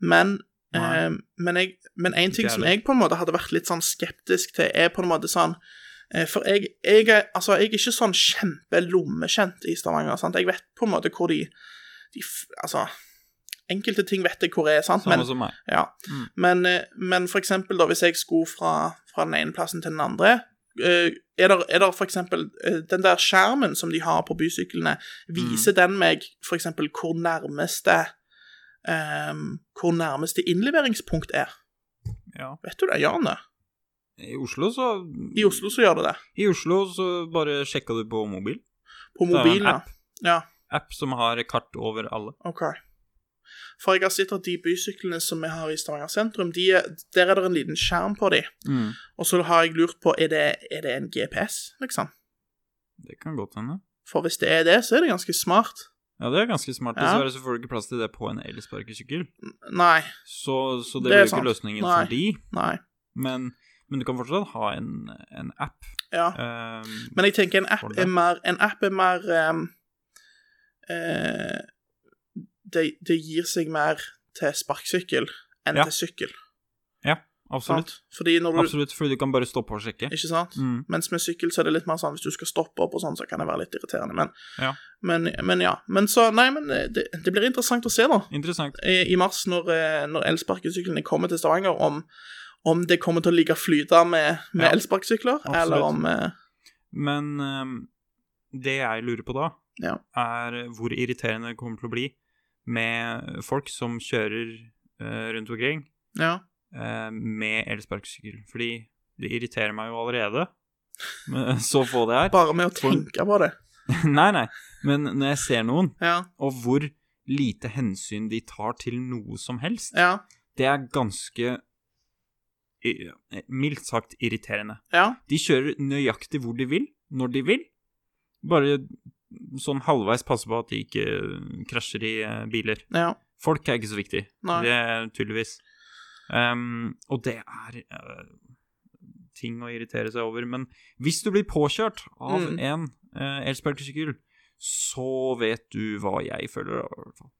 Men Nei. eh, men, jeg, men en ting Ikke som heller. jeg på en måte hadde vært litt sånn skeptisk til, er på en måte sånn eh, For jeg, jeg, er, altså, jeg er ikke sånn kjempelommekjent i Stavanger. sant? Jeg vet på en måte hvor de, de f- Altså Enkelte ting vet jeg hvor er, sant? Samme men, som meg. ja. Mm. Men, eh, men for eksempel, da, hvis jeg skulle fra, fra den ene plassen til den andre eh, Er det, er der for eksempel eh, Den der skjermen som de har på bysyklene, viser Mm. den meg for eksempel hvor nærmeste ehm, Hvor nærmeste innleveringspunkt er? Ja. Vet du det, Jan? det? I Oslo så I Oslo så gjør det det. I Oslo så bare sjekka du på mobil. er På en mobilen, ja. app. ja. App som har kart over alle. OK. For jeg har sett at de bysyklene som vi har i Stavanger sentrum, de, er- der er det en liten skjerm på de. Og så har jeg lurt på, er det, er det en GPS, liksom? Det kan godt hende. For hvis det er det, så er det ganske smart. Ja, det er ganske smart. Ja. Dessverre så får du ikke plass til det på en elsparkesykkel. Nei, Så, så Det det, blir er jo sant. ikke løsningen Nei. for de. nei. Men, men du kan fortsatt ha en, en app. Ja. Ehm, Men jeg tenker en app Hold det. er mer En app er mer ehm, eh, det, det gir seg mer til sparkesykkel enn Ja. til sykkel. absolutt. Sant? Fordi når du Absolutt, fordi du kan bare stoppe og sjekke. Ikke sant? Mm. Mens med sykkel så er det litt mer sånn hvis du skal stoppe opp og sånn, så kan det være litt irriterende. Men Ja. men, men ja. Men så Nei, men det, det blir interessant å se, da. Interessant. i i mars, når, eh, når elsparkesyklene kommer til Stavanger, om, om det kommer til å ligge flyte med, med Ja, elsparkesykler, absolutt. eller om eh, Men ehm, det jeg lurer på da, Ja. er hvor irriterende det kommer til å bli med folk som kjører eh, rundt omkring Ja. eh, med elsparkesykkel. Fordi det irriterer meg jo allerede, men [laughs] så få det er. Bare med å tenke på det. [laughs] nei, nei, men når jeg ser noen, Ja. og hvor lite hensyn de tar til noe som helst, Ja. det er ganske i- eh, mildt sagt irriterende. Ja. De kjører nøyaktig hvor de vil, når de vil. Bare sånn halvveis passe på at de ikke krasjer i eh, biler. ja. Folk er ikke så viktig. Nei. Det er tydeligvis. Ehm, og det er eh, ting å irritere seg over. Men hvis du blir påkjørt av Mm. en uh, elsparkesykkel, så vet du hva jeg føler, da, i hvert fall.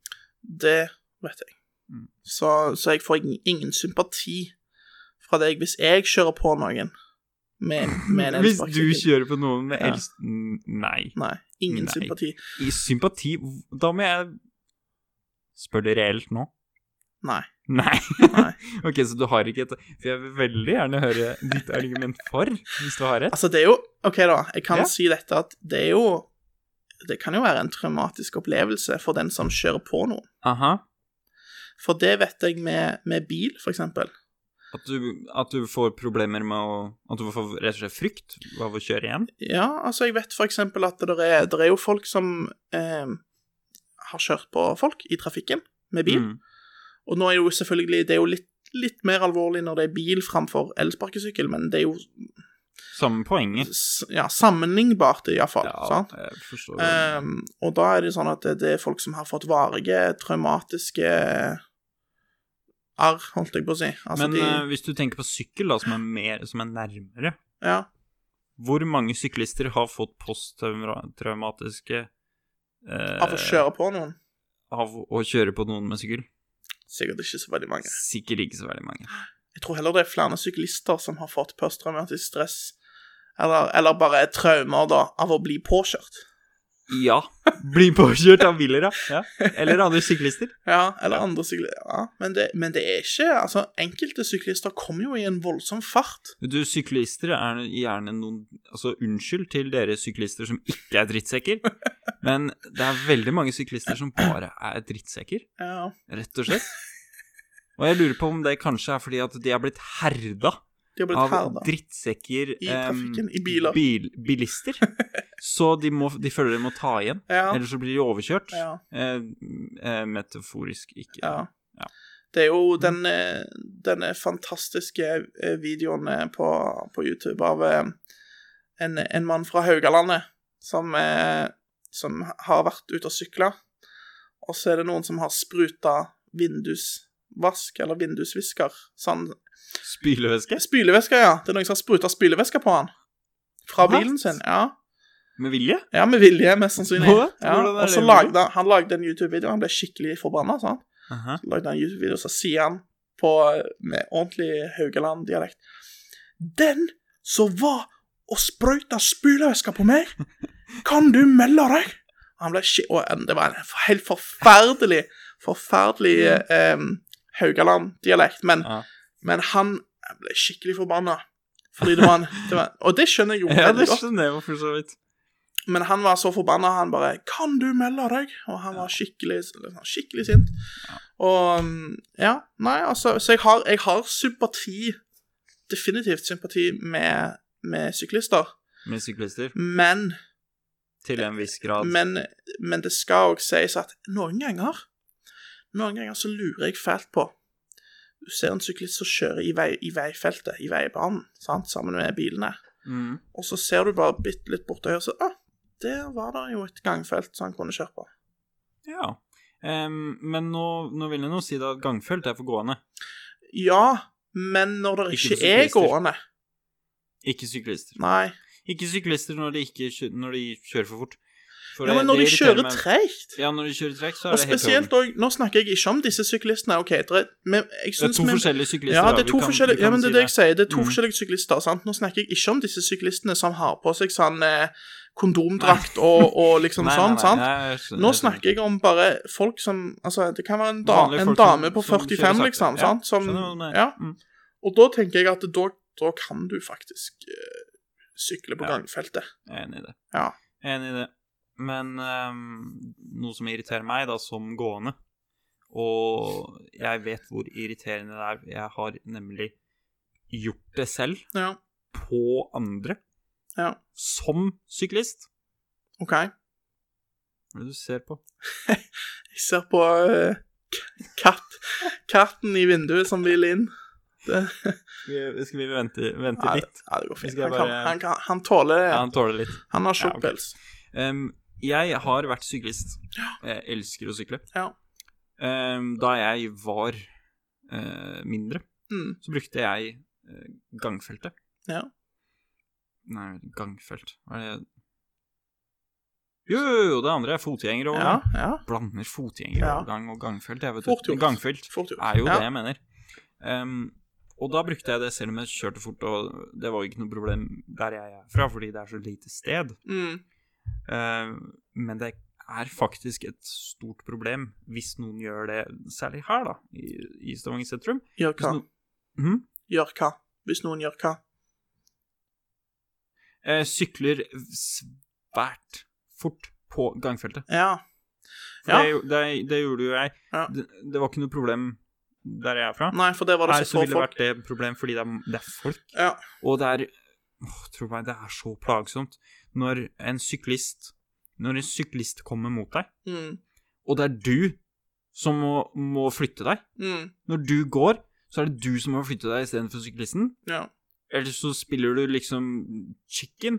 Det vet jeg. Mm. Så, så jeg får ingen, ingen sympati fra deg hvis jeg kjører på noen med, med en [laughs] Hvis du elsparkesykkel. kjører på noen med Ja. els... N- Nei. Nei. Ingen Nei. sympati. I sympati Da må jeg Spør det reelt nå? Nei. Nei. Nei. [laughs] ok, så du har ikke et For jeg vil veldig gjerne høre ditt argument for, hvis du har et. Altså, det er jo OK, da. Jeg kan Ja. si dette at det er jo Det kan jo være en traumatisk opplevelse for den som kjører på noen. Aha. For det vet jeg med, med bil, for eksempel. At du, at du får problemer med å At du får rett og slett frykt av å kjøre igjen? Ja, altså, jeg vet for eksempel at det er, der er jo folk som eh, har kjørt på folk i trafikken med bil. Mm. Og nå er jo selvfølgelig Det er jo litt, litt mer alvorlig når det er bil framfor elsparkesykkel, men det er jo Samme poenget. s ja, sammenlignbart, iallfall. Ja, sant? jeg forstår. Um, og da er det sånn at det, det er folk som har fått varige, traumatiske arr, holdt jeg på å si. Altså, Men de, eh, hvis du tenker på sykkel, da, som er, mer, som er nærmere ja. Hvor mange syklister har fått posttraumatiske eh, Av å kjøre på noen. av å kjøre på noen med sykkel? Sikkert ikke så veldig mange. Sikkert ikke så veldig mange. Jeg tror heller det er flere syklister som har fått posttraumatisk stress, eller, eller bare traumer, da, av å bli påkjørt. Ja. Bli påkjørt av biler, ja. ja. Eller andre syklister. Ja, eller andre syklister. Ja, men det, men det er ikke Altså, enkelte syklister kommer jo i en voldsom fart. Du, syklister er gjerne noen Altså, unnskyld til dere syklister som ikke er [laughs] drittsekker, men det er veldig mange syklister som bare er drittsekker, Ja, rett og slett. Og jeg lurer på om det kanskje er fordi at de er blitt herda de har blitt av herda. drittsekker I em, trafikken, i biler. Bil, [laughs] bilister. Så de, må, de føler de må ta igjen, Ja, ellers så blir de overkjørt. ja, Eh, eh, metaforisk ikke. ja. Ja. Mm. Det er jo den, eh, denne fantastiske eh, videoen eh, på, på YouTube av eh, en, en mann fra Haugalandet som, eh, som har vært ute og sykla, og så er det noen som har spruta vindus vask eller vindusvisker. Sånn Spylevæske? Spylevæske, ja. Det er noen som har spruta spylevæske på han. Fra What? bilen sin. Ja, Med vilje? ja med vilje, mest sannsynlig. What? Ja. Hvordan er Og så det lagde han, han lagde en YouTube-video. Han ble skikkelig forbanna. Sånn. Aha. Lagde han en YouTube-video, så sier han på, eh, med ordentlig Haugaland-dialekt Den som var og sprøyta spylevæske på meg, kan du melde deg? Han ble skik- Og eh, det var en helt forferdelig, forferdelig eh, Haugaland-dialekt. Men Ja. men han ble skikkelig forbanna. Fordi det var en det var, Og det skjønner jeg jo Ja, det veldig godt. skjønner jeg jo for så vidt. Men han var så forbanna, han bare 'Kan du melde deg?' Og han var skikkelig liksom, skikkelig sint. Og mm, ja. Nei, altså Så jeg har, jeg har sympati, definitivt sympati, med, med syklister. Med syklister. Men, Til en viss grad. men, men det skal òg sies at noen ganger Noen ganger så lurer jeg fælt på Du ser en syklist som kjører i, vei, i veifeltet, i veibanen, sant, sammen med bilene. Mm. Og så ser du bare bitte litt borti her, så ah, der var det jo et gangfelt som han kunne kjøre på. Ja. Em, men nå, nå vil jeg nå si det at gangfelt er for gående, Ja, men når det Ikke ikke, for er syklister. gående ikke syklister. Nei. Ikke syklister når de, ikke, kjø- når de kjører for fort. For Ja, det- men når de det irriterer kjører meg- treigt Ja, når de kjører trekk, så er Og det helt spesielt òg Nå snakker jeg ikke om disse syklistene, OK, det er, men Det er jeg syns to forskjellige syklister. ja, da. det er Vi to kan- vi forskjellige, ja, kan men det si er det jeg sier. Det er to Mm. forskjellige syklister. sant? Nå snakker jeg ikke om disse syklistene som har på seg sånn eh, kondomdrakt og, og liksom [laughs] Nei, nei, sånn. nei, sant? nei, jeg skjønner- Nå jeg skjønner. snakker jeg om bare folk som Altså, det kan være en, da, Vanlige en folk som- dame på som kjører 45, sakte. liksom, Ja, sant, som skjønner hva du mener. Ja. Mm. Og da tenker jeg at da, da kan du faktisk eh, sykle på Ja. gangfeltet. Jeg er enig i det. Ja. Jeg er enig i det. Men ehm, noe som irriterer meg, da, som gående Og jeg vet hvor irriterende det er. Jeg har nemlig gjort det selv Ja, på andre Ja. som syklist. OK. Jeg Hva er det du ser på? ser på eh, k- katt, katten i vinduet som vil inn. Det, Skal vi, skal vi vente, vente ja, litt? ja, det går fint. Skal jeg Han, kan, bare- han, kan, han tåler det. Ja, han tåler litt. Han Ja, har tjukk ok. pels. Em, jeg har vært syklist. Jeg elsker å sykle. Ja. Em, da jeg var eh, mindre, Mm. så brukte jeg eh, gangfeltet. Ja. Nei, gangfelt Hva er det Jo, jo, jo, det andre er fotgjengere og ja, ja. Blander fotgjengerovergang og gangfelt. Jeg vet Fort du. gjort. Gangfelt Fort gjort. er jo ja. det jeg mener. Em, og da brukte jeg det selv om jeg kjørte fort, og det var jo ikke noe problem der jeg er fra, fordi det er så lite sted. Mm. Eh, men det er faktisk et stort problem hvis noen gjør det, særlig her, da, i, i Stavanger sentrum. Gjør Hvis hva? noen- Mhm. Gjør hva? Hvis noen gjør hva? Eh, sykler svært fort på gangfeltet. Ja. For Ja. det, det, det gjorde jo jeg. Ja. Det, det var ikke noe problem der jeg er fra. Nei, for det var det Her så så få ville det folk. vært det problem fordi det er, det er folk. Ja. Og det er åh, Tro meg, det er så plagsomt når en syklist Når en syklist kommer mot deg, Mm. og det er du som må, må flytte deg. Mm. Når du går, så er det du som må flytte deg istedenfor syklisten. Ja. Eller så spiller du liksom chicken.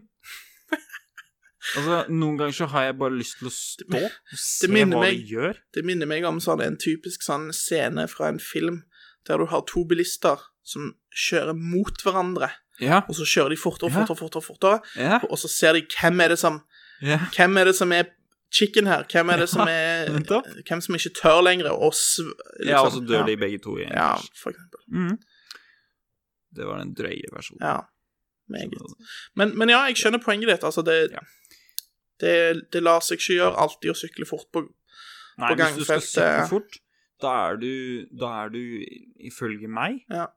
Altså, Noen ganger så har jeg bare lyst til å stå og se hva minner meg- du gjør. Det minner meg om sånn en typisk sånn scene fra en film der du har to bilister som kjører mot hverandre, Ja, og så kjører de fortere, Ja. fortere, fortere, fortere, ja, og så ser de hvem er det som, ja. hvem er, det som er chicken her, hvem er det som er [laughs] nettopp. Hvem som ikke tør lenger, og sv... liksom. ja og så dør de begge to igjen. eh, Ja, for eksempel. Mhm. Det var den drøye versjonen. Ja. Meget. Men, men ja, jeg skjønner poenget ditt. Altså, det, Ja. det, det lar seg ikke gjøre alltid å sykle fort på Nei, på eh. hvis du skal gangfeltet- sykle fort, da er du, da er du ifølge meg Ja.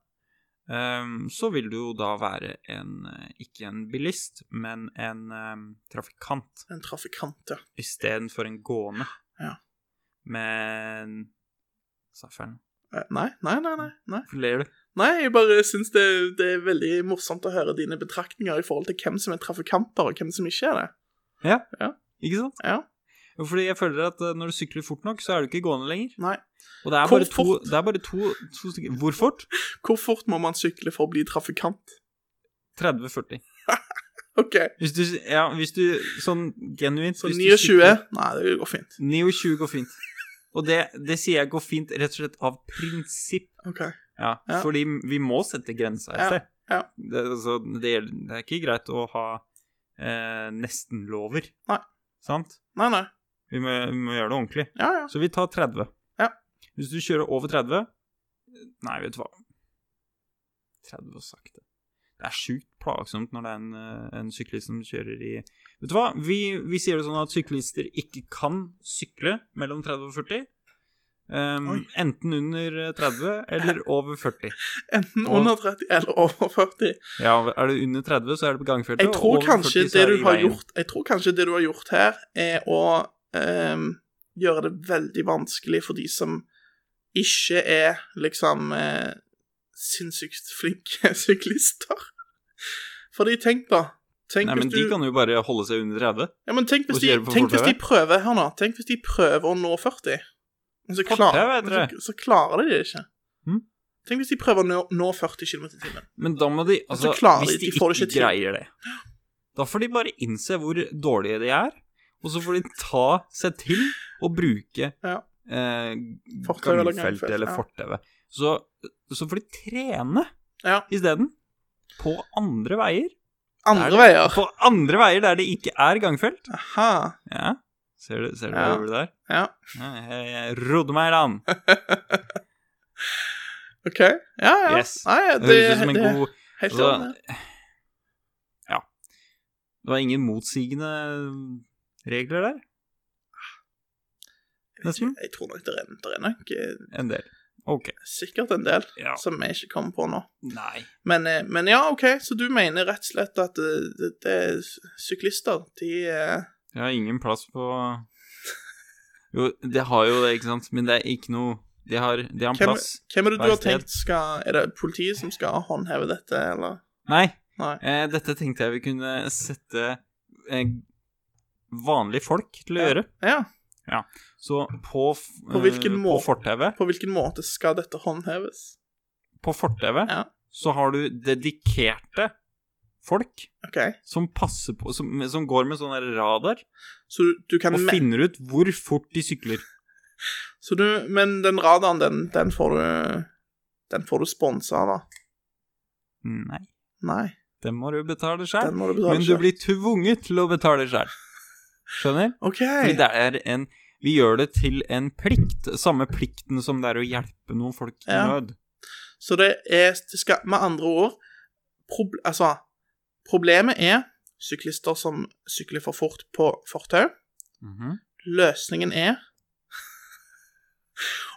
ehm, Så vil du jo da være en eh, Ikke en bilist, men en ehm, trafikant en trafikant, ja. istedenfor en gående. Ja. Men Sa jeg feil? nå? Eh, Nei, nei, nei, nei. nei. Hvorfor ler du? Nei, jeg bare syns det, det er veldig morsomt å høre dine betraktninger i forhold til hvem som er trafikanter, og hvem som ikke er det. Ikke sant? Ja. Jo, Fordi jeg føler at eh, når du sykler fort nok, så er du ikke gående lenger. Nei. Og det er Hvor bare to, fort? det er bare to, to stykker Hvor fort? Hvor fort må man sykle for å bli trafikant? 30-40. OK, Hvis du, ja, hvis du sånn genuint så hvis du 29? sykler- Nei, det går fint. Neo 20 går fint. Og det, det sier jeg går fint rett og slett av prinsipp. OK. Ja, Ja. fordi vi må sette grensa et Ja, sted. ja. Det, altså, det, gjelder- det er ikke greit å ha eh, nesten-lover. Nei. Sant? Nei, nei. Vi må, vi må gjøre det ordentlig. Ja, ja. Så vi tar 30. Ja. Hvis du kjører over 30 Nei, vet du hva 30 og sakte. Det er sjukt plagsomt når det er en, eh, en syklist som kjører i Vet du hva, vi, vi sier det sånn at syklister ikke kan sykle mellom 30 og 40. Ehm, Oi. enten under 30 eller over 40. Enten Og- under 30 eller over 40. Ja, er du under 30, så er det på gangfeltet. Jeg og tror over kanskje 40 så det er du i har veien. gjort Jeg tror kanskje det du har gjort her, er å ehm, gjøre det veldig vanskelig for de som ikke er liksom eh, sinnssykt flinke [laughs] syklister. Fordi tenk, da. Tenk Nei, men hvis du de kan jo bare holde seg under 30. Ja, men tenk hvis, Og de, kjøre på tenk hvis de fortauet. prøver her nå Tenk hvis de prøver å nå 40 Men så, klar, Fortauet, men tror jeg. så, så klarer de det ikke Hm? Tenk hvis de prøver å nå, nå 40 km i timen Men da må de så Altså, klarer hvis de- de, de får det ikke, ikke til. greier det, da får de bare innse hvor dårlige de er, og så får de ta seg til og bruke Ja. eh, Fortau eller gangfelt gangfelt, eller ja. fortauet. Så, så får de trene Ja. isteden. På andre veier. Er Andre det- veier På andre veier der det ikke er gangfelt. Aha Ja. Ser du, ser du Ja. over det der? Ja. ja jeg, jeg rodde meg i land. Ok Ja, ja Yes. Nei, Det det, høres ut som en det er god helt altså, enig. Ja. Det var ingen motsigende regler der. Nesten. Jeg tror nok det er, det er nok eh, En del. OK. sikkert en del Ja. Som jeg ikke kommer på nå Nei. men, eh, men ja, ok Så du mener rett og slett at eh, det, det er syklister De eh, Jeg har ingen plass på Jo, det har jo det, ikke sant, men det er ikke noe De har, de har en Hvem- plass. Hvem er det du har Verksted. tenkt skal Er det politiet som skal håndheve dette, eller? Nei. Nei. Eh, dette tenkte jeg vi kunne sette eh, vanlige folk til å gjøre. Ja. Så på f- På hvilken eh, måte? På fortauet På hvilken måte skal dette håndheves? på fortauet Ja. så har du dedikerte folk OK. som passer på Som, som går med sånn der radar Så du, du kan og me- finner ut hvor fort de sykler. så du, Men den radaren, den, den får du Den får du sponsa, da. Nei, Nei, det må du betale sjøl. den må du betale Men du selv. blir tvunget til å betale sjøl. Skjønner? OK. Fordi det er en Vi gjør det til en plikt. Samme plikten som det er å hjelpe noen folk i Ja. nød. Så det er det skal, Med andre ord prob, Altså, problemet er syklister som sykler for fort på fortau. Mhm. Løsningen er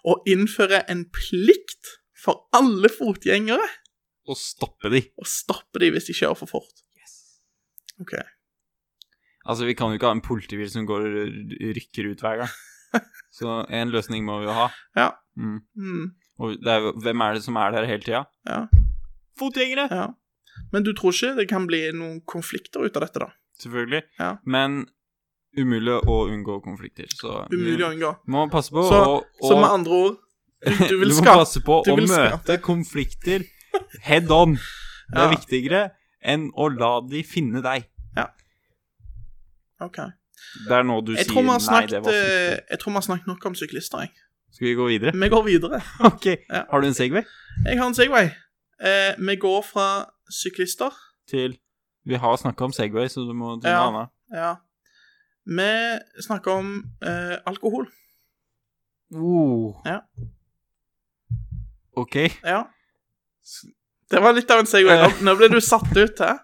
å innføre en plikt for alle fotgjengere Og stoppe de. og stoppe dem hvis de kjører for fort. OK. Altså, vi kan jo ikke ha en politibil som går og rykker ut [laughs] hver gang. Så en løsning må vi jo ha. Ja. Mm. Mm, Og det er, jo- hvem er det som er der hele tida? Ja. Fotgjengere! ja. Men du tror ikke det kan bli noen konflikter ut av dette, da? Selvfølgelig. Ja. Men umulig å unngå konflikter, så Umulig å unngå. vi må passe på Så- å Mm. Så å- med andre ord Du, [laughs] du du vil må skape passe på du å vil møte konflikter head on. Det er Ja. viktigere enn å la de finne deg. OK. Det er nå du Jeg sier tror vi har nei, snakket, det var fint. eh, jeg tror vi har snakket nok om syklister, jeg. Skal vi gå [laughs] videre? Vi går videre. OK. Ja. Har du en Segway Jeg har en Segway. Eh, vi går fra syklister til Vi har snakka om Segway, så du må til Ja. noe annet. Ja. Vi snakker om eh, alkohol. Oh. Ja. OK. Ja. Det var litt av en segway. Nå, nå ble du satt ut, hæ?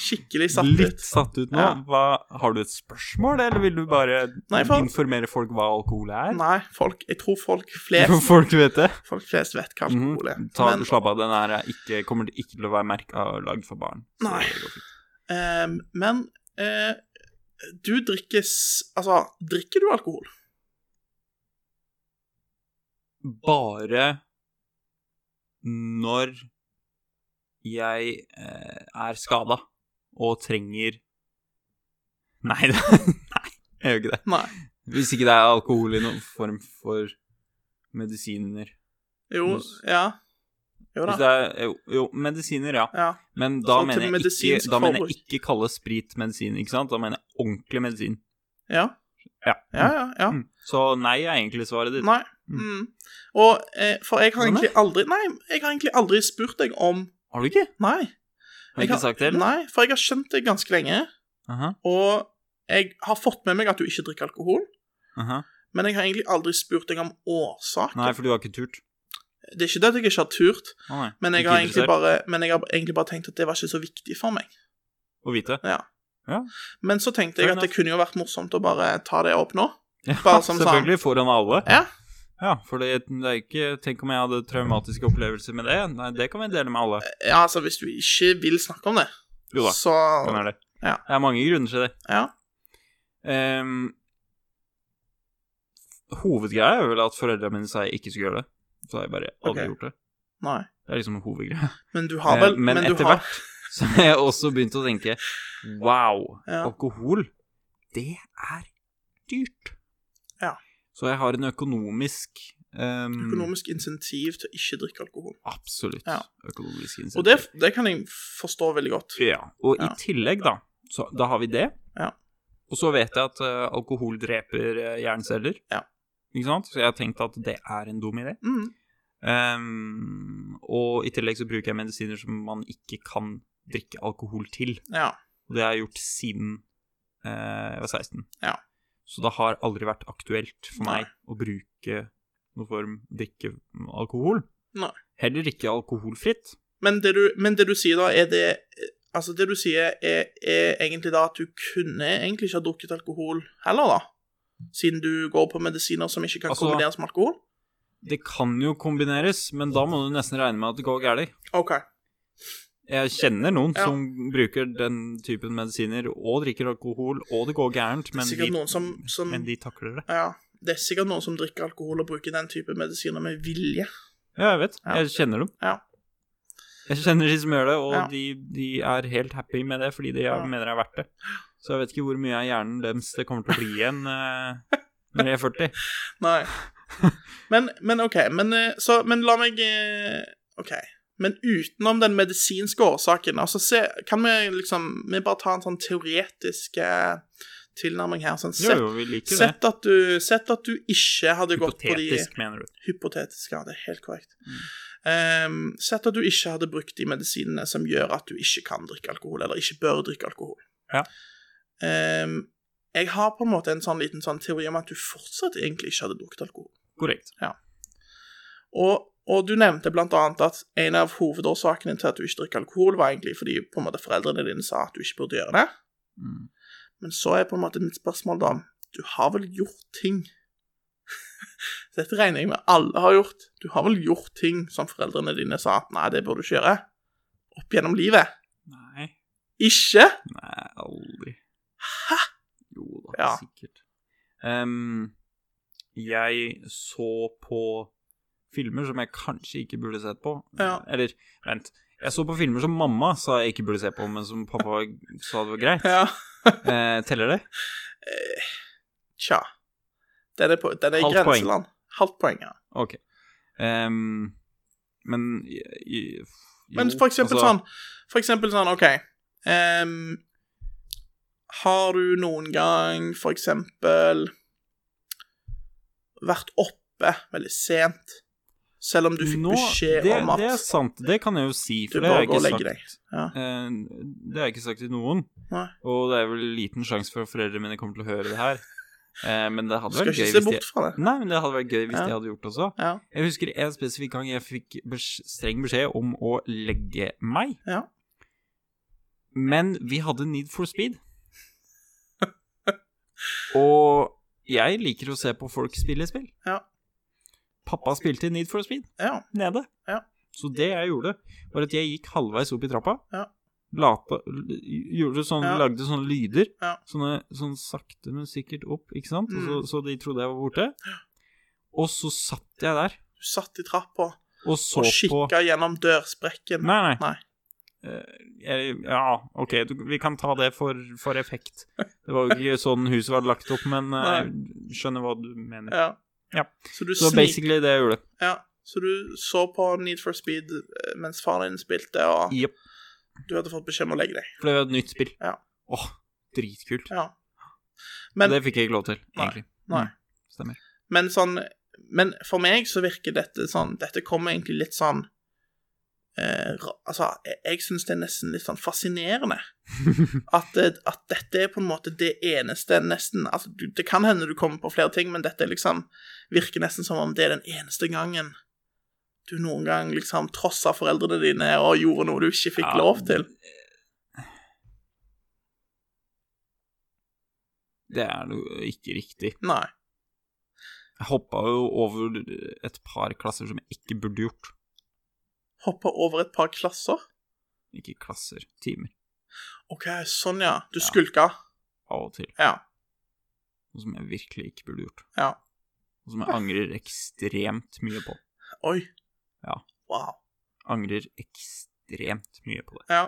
Skikkelig satt Litt ut. satt ut nå. Ja. Hva, har du et spørsmål, eller vil du bare Nei, for- informere folk hva alkohol er? Nei, folk, jeg tror folk For [laughs] flest, [laughs] folk vet det. folk flest vet hva alkohol er. Ta, Men slapp av, den her er ikke, kommer ikke til å være merka og lagd for barn. Så Nei. det går fint. Ehm, men eh, du drikkes Altså, drikker du alkohol? Bare når jeg eh, er skada og trenger Nei, [laughs] det, nei, jeg gjør ikke det. Nei. Hvis ikke det er alkohol i noen form for medisiner. Jo, Hvis- ja. Jo Hvis da. det er, jo, jo, medisiner, ja. Ja. Men da Så til mener, jeg ikke, medisinsk da mener jeg forbruk. ikke kalle sprit medisin, ikke sant? Da mener jeg ordentlig medisin. ja. Ja. Ja, ja, ja. Mm. Så nei er egentlig svaret ditt. Nei. Mm. Mm. Og eh, For jeg har Nei, nei. egentlig aldri Nei, jeg har egentlig aldri spurt deg om Har du ikke? Nei. Har du Jeg ikke sagt det? eller? Nei, for jeg har skjønt deg ganske lenge, Aha, og jeg har fått med meg at du ikke drikker alkohol, aha. men jeg har egentlig aldri spurt deg om årsaken. Nei, for du har ikke turt. Det er ikke det at jeg ikke har turt, Å nei. men jeg, Ikke har egentlig interessert bare, men jeg har egentlig bare tenkt at det var ikke så viktig for meg. Å vite. Men så tenkte jeg Fair at det enough. kunne jo vært morsomt å bare ta det opp nå. Ja, Bare som selvfølgelig. Foran alle. Ja. Ja, for det, det er ikke Tenk om jeg hadde traumatiske opplevelser med det. Nei, det kan vi dele med alle. Ja, altså, hvis du ikke vil snakke om det, Jo da, så sånn er det. Ja. Det er mange grunner til det. Ja. Ehm, hovedgreia er vel at foreldrene mine sa jeg ikke skulle gjøre det. Så har jeg bare aldri Ok. gjort det. Nei. Det er liksom hovedgreia. Men du har vel Eh, men du etter har- hvert så har jeg også begynt å tenke Wow, Ja. alkohol, det er dyrt. Ja. Så jeg har en økonomisk ehm, Økonomisk insentiv til å ikke drikke alkohol. Absolutt Ja. økonomisk insentiv. Og det, det kan jeg forstå veldig godt. Ja, og Ja. i tillegg, da, så da har vi det. Ja. Og så vet jeg at eh, alkohol dreper eh, hjerneceller. Ja. Ikke sant? Så jeg har tenkt at det er en dum idé. Mm. Ehm, og i tillegg så bruker jeg medisiner som man ikke kan drikke alkohol til. Ja. Og det har jeg gjort siden eh, jeg var 16. Ja. Så det har aldri vært aktuelt for meg Nei. å bruke noen form drikke alkohol. Nei. Heller ikke alkoholfritt. Men det, du, men det du sier da, er det Altså, det du sier, er, er egentlig da at du kunne egentlig ikke ha drukket alkohol heller, da? Siden du går på medisiner som ikke kan Altså- kombineres med alkohol? Det kan jo kombineres, men da må du nesten regne med at det går galt. OK. Jeg kjenner noen Ja. som bruker den typen medisiner og drikker alkohol, og det går gærent, men, sikkert de- noen som, som men de takler det. Ja. Det er sikkert noen som drikker alkohol og bruker den type medisiner med vilje. Ja, jeg vet. Ja. Jeg kjenner dem. Ja. Jeg kjenner de som gjør det, og Ja. de, de er helt happy med det fordi de Ja. mener det er verdt det. Så jeg vet ikke hvor mye av hjernen deres det kommer til å bli igjen eh, når de er 40. [laughs] Nei. Men, men OK. Men, eh, så, men la meg eh, OK. Men utenom den medisinske årsaken, altså se, kan vi liksom Vi bare ta en sånn teoretisk eh, tilnærming her. Sånn, Jo, [laughs] sett, jo, vi liker det. sett, at du, sett at du ikke hadde gått på de Hypotetisk, mener du. Hypotetiske, ja, det er helt korrekt. Eh, sett at du ikke hadde brukt de medisinene som gjør at du ikke kan drikke alkohol, eller ikke bør drikke alkohol. Ja. Eh, jeg har på en måte en sånn liten sånn teori om at du fortsatt egentlig ikke hadde drukket alkohol. Korrekt. Og, og du nevnte blant annet at en av hovedårsakene til at du ikke drikker alkohol, var egentlig fordi på en måte foreldrene dine sa at du ikke burde gjøre det. Mm. Men så er på en måte mitt spørsmål da Du har vel gjort ting [laughs] Dette regner jeg med alle har gjort. Du har vel gjort ting som foreldrene dine sa at nei, det burde du ikke gjøre, opp gjennom livet? Nei. Ikke? Nei, aldri. Hæ? Jo da, Ja. sikkert. Ehm, jeg så på filmer som jeg kanskje ikke burde sett på. Ja. Eller, vent. Jeg så på filmer som mamma sa jeg ikke burde se på, men som pappa [laughs] sa det var greit. Ja. Eh, teller det? Eh, tja. Den er, på, den er i Halvt poeng. grenseland. Halvt poeng, ja. Ok. Ehm, men i, i, jo, Men for eksempel altså, sånn For eksempel sånn, OK ehm, Har du noen gang for eksempel vært oppe veldig sent, selv om du fikk nå- beskjed det, om at Det er sant, det kan jeg jo si, Du for det har bør jeg gå og ikke legge sagt. deg. Ja. Eh, det har jeg ikke sagt til noen. Nei. Og det er vel liten sjanse for at foreldrene mine kommer til å høre det her. Eh, men det hadde Skal vært ikke gøy se hvis de bort fra det. Nei, men det hadde vært gøy hvis Ja. de hadde gjort det også. Ja. Jeg husker en spesifikk gang jeg fikk besk streng beskjed om å legge meg. Ja. Men vi hadde Need for Speed. [laughs] Og jeg liker å se på folk spille spill. Ja. Pappa spilte Need for Speed ja. nede. Ja. Så det jeg gjorde, var at jeg gikk halvveis opp i trappa. Ja. Lata, l- gjorde sånn, Ja. Lagde sånne lyder. Ja. Sånne, sånn sakte, men sikkert opp, ikke sant? Og Mm. så, så de trodde jeg var borte. Og så satt jeg der Du satt i trappa og så og på kikka gjennom dørsprekken. Nei, nei. Nei. Eh, jeg, ja, OK, du, vi kan ta det for, for effekt. Det var jo ikke sånn huset var lagt opp, men eh, jeg skjønner hva du mener. Ja. Ja. Så du Så snik... basically det jeg gjorde. Ja. Så du så på Need for Speed eh, mens faren din spilte, og Jepp. du hadde fått beskjed om å legge deg. For det var et nytt spill. Ja. Åh, dritkult. Ja. Men- det fikk jeg ikke lov til, Nei, egentlig. nei. Mm, Stemmer. Men sånn Men for meg så virker dette sånn Dette kommer egentlig litt sånn eh, ra- Altså, jeg, jeg syns det er nesten litt sånn fascinerende. [laughs] At, det- at dette er på en måte det eneste nesten altså, du, Det kan hende du kommer på flere ting, men dette er liksom virker nesten som om det er den eneste gangen du noen gang liksom trossa foreldrene dine og gjorde noe du ikke fikk Ja. lov til. Det er jo ikke riktig. Nei. Jeg hoppa jo over et par klasser som jeg ikke burde gjort. Hoppa over et par klasser. Ikke klasser, timer. OK, sånn, ja. Du skulka. Av og til. Ja. Noe som jeg virkelig ikke burde gjort. Ja. Noe som jeg angrer ekstremt mye på. Oi. Ja. Wow. Angrer ekstremt mye på det. Ja.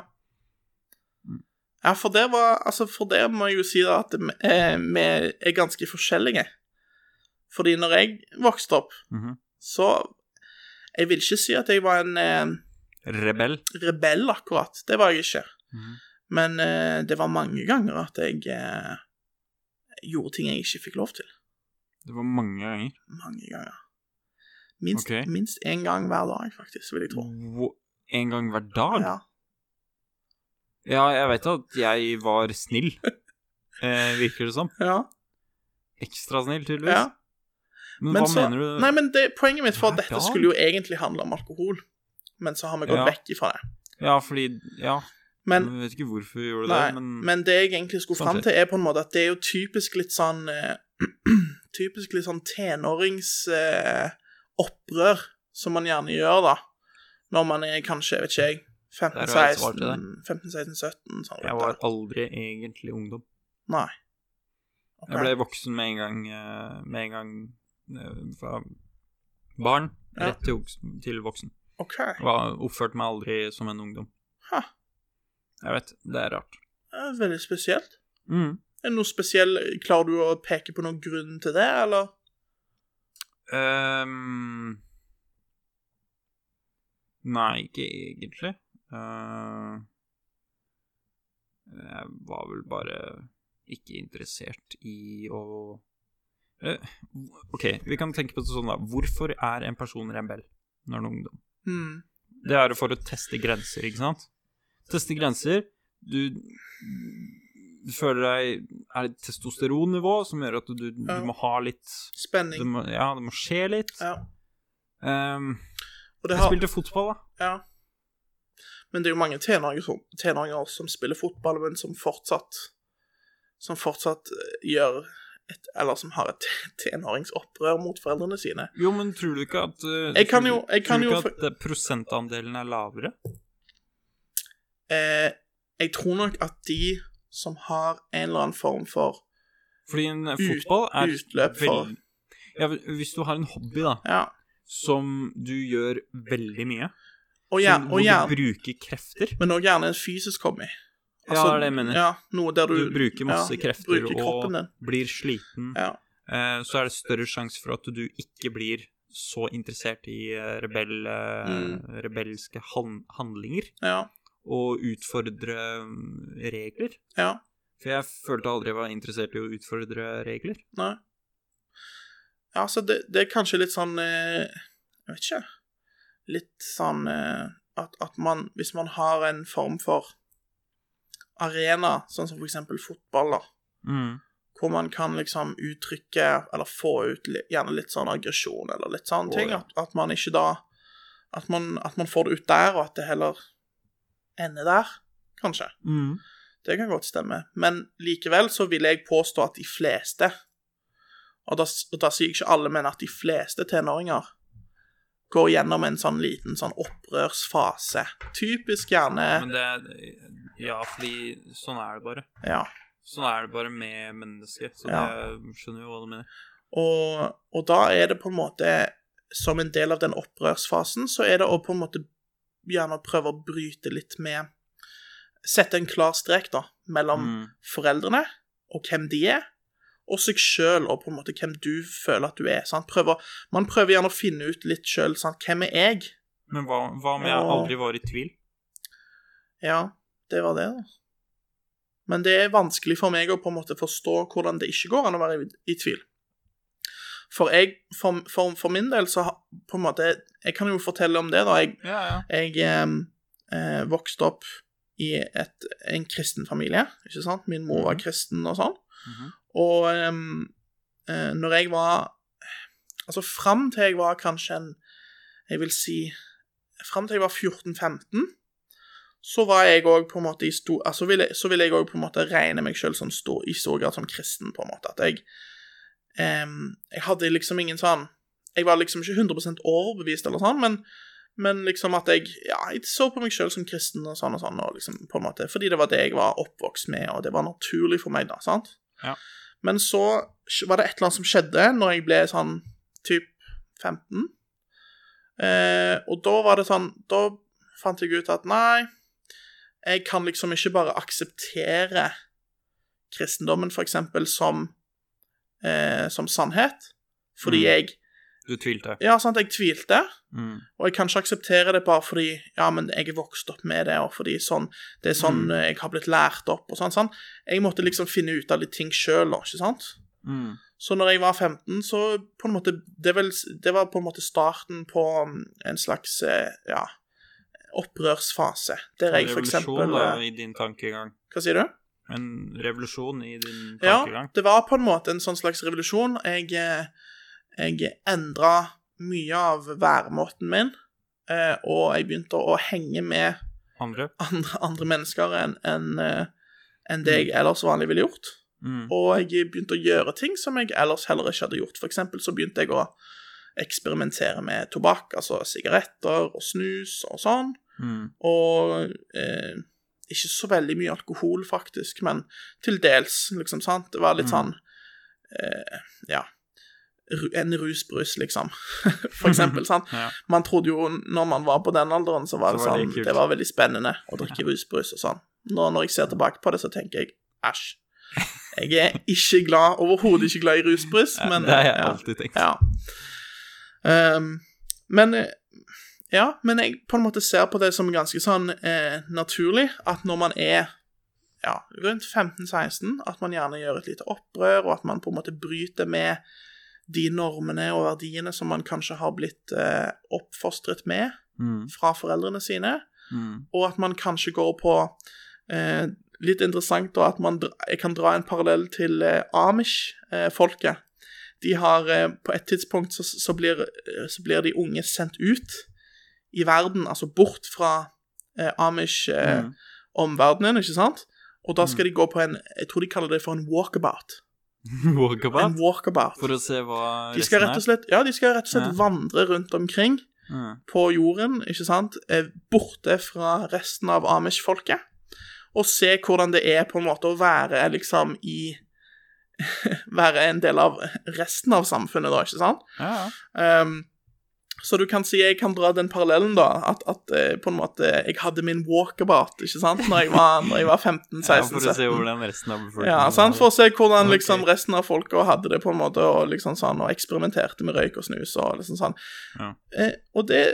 Mm. Ja, for det var Altså, for det må jeg jo si da at vi eh, vi er ganske forskjellige. Fordi når jeg vokste opp, Mhm. så Jeg vil ikke si at jeg var en eh, Rebell. rebell, akkurat. Det var jeg ikke. Men eh, det var mange ganger at jeg eh, gjorde ting jeg ikke fikk lov til. Det var mange ganger. Mange ganger. Minst Ok. minst én gang hver dag, faktisk, vil jeg tro. Wo- En gang hver dag? Ja. Ja, jeg veit at jeg var [laughs] snill, eh, virker det som. ja. Ekstra snill, tydeligvis. ja. Men, Men hva så- mener du? Nei, men det, poenget mitt for at Hver dette dag? skulle jo egentlig handle om alkohol, men så har vi gått Ja. vekk ifra det. Ja, fordi Ja, Men, jeg vet ikke hvorfor vi gjorde nei, det, men, men, Sånn det jeg egentlig skulle fram Sant til, er på en måte at det er jo typisk litt sånn eh, [clears throat] Typisk litt sånn tenåringsopprør opprør som man gjerne gjør, da, når man er kanskje, vet ikke jeg, Der har jeg et svar til 15-16, deg. 15-16-17, sånn. jeg var aldri egentlig ungdom. Nei. Ok. Jeg ble voksen med en gang eh, Med en gang eh, fra barn Ja. rett til, voksen, til voksen. OK. Jeg var- Oppførte meg aldri som en ungdom. Ha, Jeg vet, det er rart. det er veldig spesielt. Mm. Er det noe spesiell, Klarer du å peke på noen grunn til det, eller? Ehm, nei, ikke egentlig. Eh, jeg var vel bare ikke interessert i å Eh, OK, vi kan tenke på det sånn, da. Hvorfor er en person rebell når han er ungdom? Hmm. Det er jo for å teste grenser, ikke sant? Teste grenser. Du, du føler deg Er det testosteronnivå som gjør at du, du Ja. må ha litt Spenning. det må, ja, det må skje litt. Ja. Ehm, Og det jeg har, spilte fotball, da. ja. Men det er jo mange tenåringer som, tenåringer som spiller fotball, men som fortsatt Som fortsatt eh, gjør et, Eller som har et [laughs] tenåringsopprør mot foreldrene sine. Jo, men tror du ikke at eh, Jeg kan tror- jo- jeg kan Tror du jo ikke at eh, prosentandelen er lavere? Eh, jeg tror nok at de som har en eller annen form for Fordi en eh, Ut- fotball er utløp for veldig ja, Hvis du har en hobby, da, Ja. som du gjør veldig mye, Og, gjer, som, og hvor du gjerne, bruker krefter men òg gjerne en fysisk hobby. Altså, Ja, det er det jeg mener. Ja, noe der du, Du bruker masse krefter bruker og- kroppen din. Blir sliten, Ja. eh, så er det større sjanse for at du ikke blir så interessert i eh, rebell, eh, Mm. rebelske han handlinger Ja. og utfordre mm, regler. ja. For jeg følte aldri jeg var interessert i å utfordre regler. Nei. Ja, altså, det, det er kanskje litt sånn eh, Jeg vet ikke. Litt sånn eh, at, at man Hvis man har en form for arena, sånn som for eksempel fotball, da, Mm. hvor man kan liksom uttrykke eller få ut li- gjerne litt sånn aggresjon eller litt sånne Å, ting, ja. at, at man ikke da at man, at man får det ut der, og at det heller ender der, kanskje. Det kan godt stemme. Men likevel så vil jeg påstå at de fleste Og da, og da sier jeg ikke alle, men at de fleste tenåringer går gjennom en sånn liten sånn opprørsfase. Typisk gjerne Men det Ja, fordi sånn er det bare. Ja. Sånn er det bare med mennesker. Så Ja. det skjønner jo hva du mener. Og, og da er det på en måte Som en del av den opprørsfasen, så er det å på en måte gjerne prøve å bryte litt med Sette en klar strek, da, mellom Mm. foreldrene og hvem de er, og seg sjøl og på en måte hvem du føler at du er. Sant? Prøver, man prøver gjerne å finne ut litt sjøl hvem er jeg Men hva, hva om jeg Og- aldri var i tvil? Ja, det var det, da. altså. Men det er vanskelig for meg å på en måte forstå hvordan det ikke går an å være i, i tvil. For, jeg, for, for, for min del så har- på en måte, Jeg kan jo fortelle om det, da. Jeg, Ja, ja. jeg em, eh, vokste opp i et, en kristen familie, ikke sant? Min mor var kristen og sånn. Mhm. Og em, eh, når jeg var Altså fram til jeg var kanskje en Jeg vil si Fram til jeg var 14-15, så var jeg òg på en måte i stor altså ville, Så ville jeg òg på en måte regne meg sjøl som stor, i stor grad som kristen, på en måte. At jeg em, Jeg hadde liksom ingen sånn Jeg var liksom ikke 100 overbevist eller sånn, men men liksom at jeg, ja, jeg så på meg sjøl som kristen og sånn og sånn, og liksom på en måte, fordi det var det jeg var oppvokst med, og det var naturlig for meg, da. sant? Ja. Men så var det et eller annet som skjedde når jeg ble sånn typ 15. Eh, og da var det sånn Da fant jeg ut at nei, jeg kan liksom ikke bare akseptere kristendommen, for eksempel, som, eh, som sannhet, fordi Mm. jeg Du tvilte. Ja, sant, jeg tvilte. Mm. Og jeg kan ikke akseptere det bare fordi ja, men jeg er vokst opp med det, og fordi sånn, det er sånn Mm. eh, jeg har blitt lært opp, og sånn. sånn. Jeg måtte liksom finne ut av litt ting sjøl, ikke sant? Mm. Så når jeg var 15, så på en måte Det, vel, det var på en måte starten på mm, en slags eh, ja, opprørsfase, der jeg for Revolusjon eksempel da, eh, i din tankegang. Hva sier du? En revolusjon i din Ja, tankegang. det var på en måte en sånn slags revolusjon. Jeg, eh, jeg endra mye av væremåten min, eh, og jeg begynte å henge med Andre. andre, andre mennesker enn enn, eh, enn det jeg ellers vanlig ville gjort. Mm. Og jeg begynte å gjøre ting som jeg ellers heller ikke hadde gjort. For eksempel så begynte jeg å eksperimentere med tobakk, altså sigaretter og snus og sånn. Mm. Og eh, ikke så veldig mye alkohol, faktisk, men til dels, liksom, sant. Det var litt Mm. sånn eh, Ja. ru- En rusbrus, liksom, [laughs] for eksempel. sant? [laughs] Ja. Man trodde jo når man var på den alderen, så var Så det, var det sånn kult. det, var veldig spennende å drikke rusbrus og sånn. Nå når jeg ser tilbake på det, så tenker jeg [laughs] æsj. Jeg er ikke glad, overhodet ikke glad i rusbrus, Ja, men det har jeg ja. alltid tenkt. Ja. Ehm, men eh, Ja, men jeg på en måte ser på det som ganske sånn eh, naturlig at når man er ja, rundt 15-16, at man gjerne gjør et lite opprør, og at man på en måte bryter med de normene og verdiene som man kanskje har blitt eh, oppfostret med Mm. fra foreldrene sine Mm. og at man kanskje går på eh, Litt interessant da, at man dr- jeg kan dra en parallell til eh, Amish-folket. de har eh, På et tidspunkt så, så, blir, eh, så blir de unge sendt ut i verden, altså bort fra eh, Mm. Amish-omverdenen, ikke sant? Og da skal de gå på en Jeg tror de kaller det for en walkabout. En [laughs] Walkabout? walkabout. For å se hva Mm. De skal rett og slett, ja, de skal rett og slett Ja. vandre rundt omkring Mm. på jorden, ikke sant, er borte fra resten av Amish-folket, og se hvordan det er på en måte å være liksom i [laughs] Være en del av resten av samfunnet, da, ikke sant? Ja, ja. Ehm, så du kan si jeg kan dra den parallellen, da, at, at eh, på en måte jeg hadde min walkabout, ikke sant, når jeg var, når jeg var 15-16-17. ja, for å se hvordan resten av befolkningen Ja, altså, sant, for å se hvordan Ok. liksom resten av folka hadde det, på en måte, og liksom sånn, og eksperimenterte med røyk og snus og liksom sånn. Ja. Eh, og det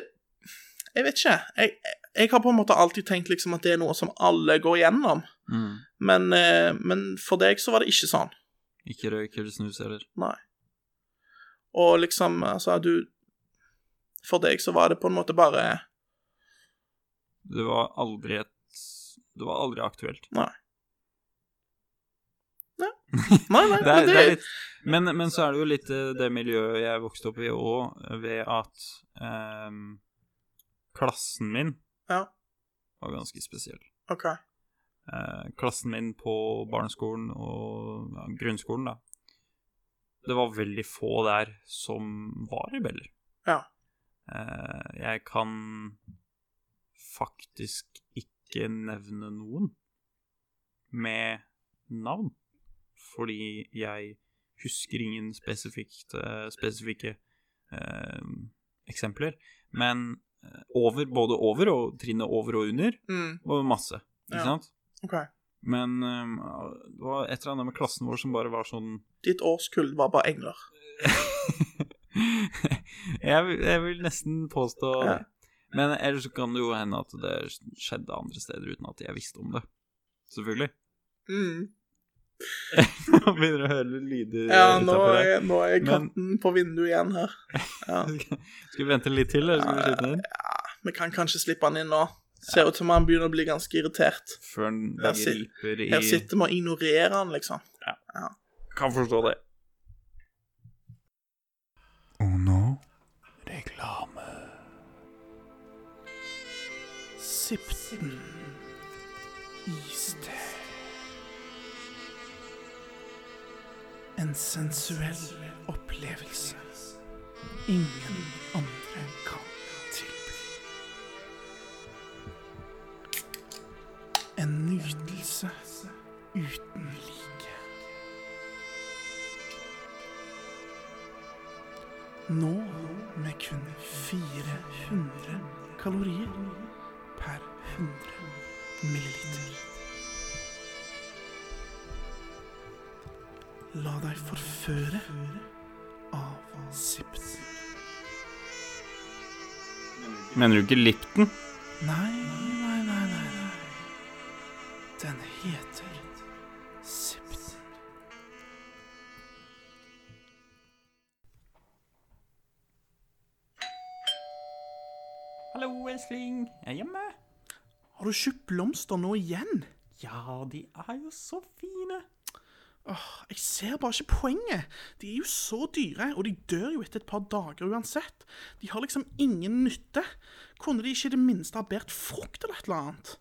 Jeg vet ikke. Jeg, jeg har på en måte alltid tenkt liksom at det er noe som alle går gjennom, mm. men, eh, men for deg så var det ikke sånn. Ikke røyk eller snus heller. Og liksom, altså, du For deg så var det på en måte bare Det var aldri et Det var aldri aktuelt. Nei, nei, Det er, men det det er litt, men, men så er det jo litt eh, det miljøet jeg vokste opp i òg, ved at ehm, klassen min Ja. var ganske spesiell. OK. Eh, klassen min på barneskolen og ja, grunnskolen, da. Det var veldig få der som var rebeller. Ja. Eh, jeg kan faktisk ikke nevne noen med navn, fordi jeg husker ingen spesifikt, eh, spesifikke eh, eksempler. Men eh, over, både over og trinnet over og under Mm, var masse, ikke Ja. sant? OK. Men ehm, det var et eller annet med klassen vår som bare var sånn [laughs] Ditt årskull var bare engler. jeg, vil- jeg vil nesten påstå Ja. det. Men ellers så kan det jo hende at det skjedde andre steder uten at jeg visste om det. Selvfølgelig. Mm. Nå [laughs] begynner du å høre lyder Ja, nå utenfor her. er, nå er Men- katten på vinduet igjen her. Ja. [laughs] Skal vi vente litt til, eller skal vi skyte den inn? Vi kan kanskje slippe han inn nå. Ser ut som han begynner å bli ganske irritert. Før den Her sit- griper Her i sitter vi og ignorerer han, liksom. Kan forstå det. Og nå reklame. Sipten Iste. En sensuell opplevelse ingen andre kan tilby. En nytelse uten like. Nå med kun 400 kalorier per 100 milliliter. La deg forføre av sips. Mener du ikke Lipton? Nei, nei, nei, nei, nei. Den heter sips. Hallo, Elsling. Jeg er hjemme. Har du kjøpt blomster nå igjen? Ja, de er jo så fine. Jeg ser bare ikke poenget. De er jo så dyre, og de dør jo etter et par dager uansett. De har liksom ingen nytte. Kunne de ikke i det minste ha båret frukt eller et eller annet?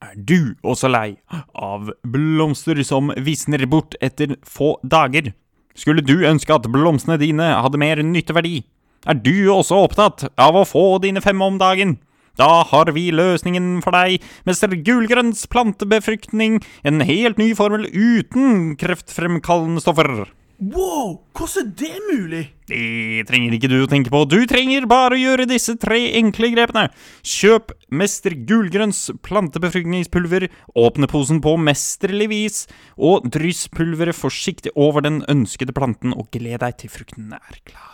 Er du også lei av blomster som visner bort etter få dager? Skulle du ønske at blomstene dine hadde mer nytteverdi? Er du også opptatt av å få dine fem om dagen? Da har vi løsningen for deg, Mester Gulgrønns plantebefruktning, en helt ny formel uten kreftfremkallende stoffer. Wow, hvordan er det mulig? Det trenger ikke du å tenke på. Du trenger bare å gjøre disse tre enkle grepene. Kjøp Mester Gulgrønns plantebefruktningspulver, åpne posen på mesterlig vis, og dryss pulveret forsiktig over den ønskede planten, og gled deg til frukten er klar.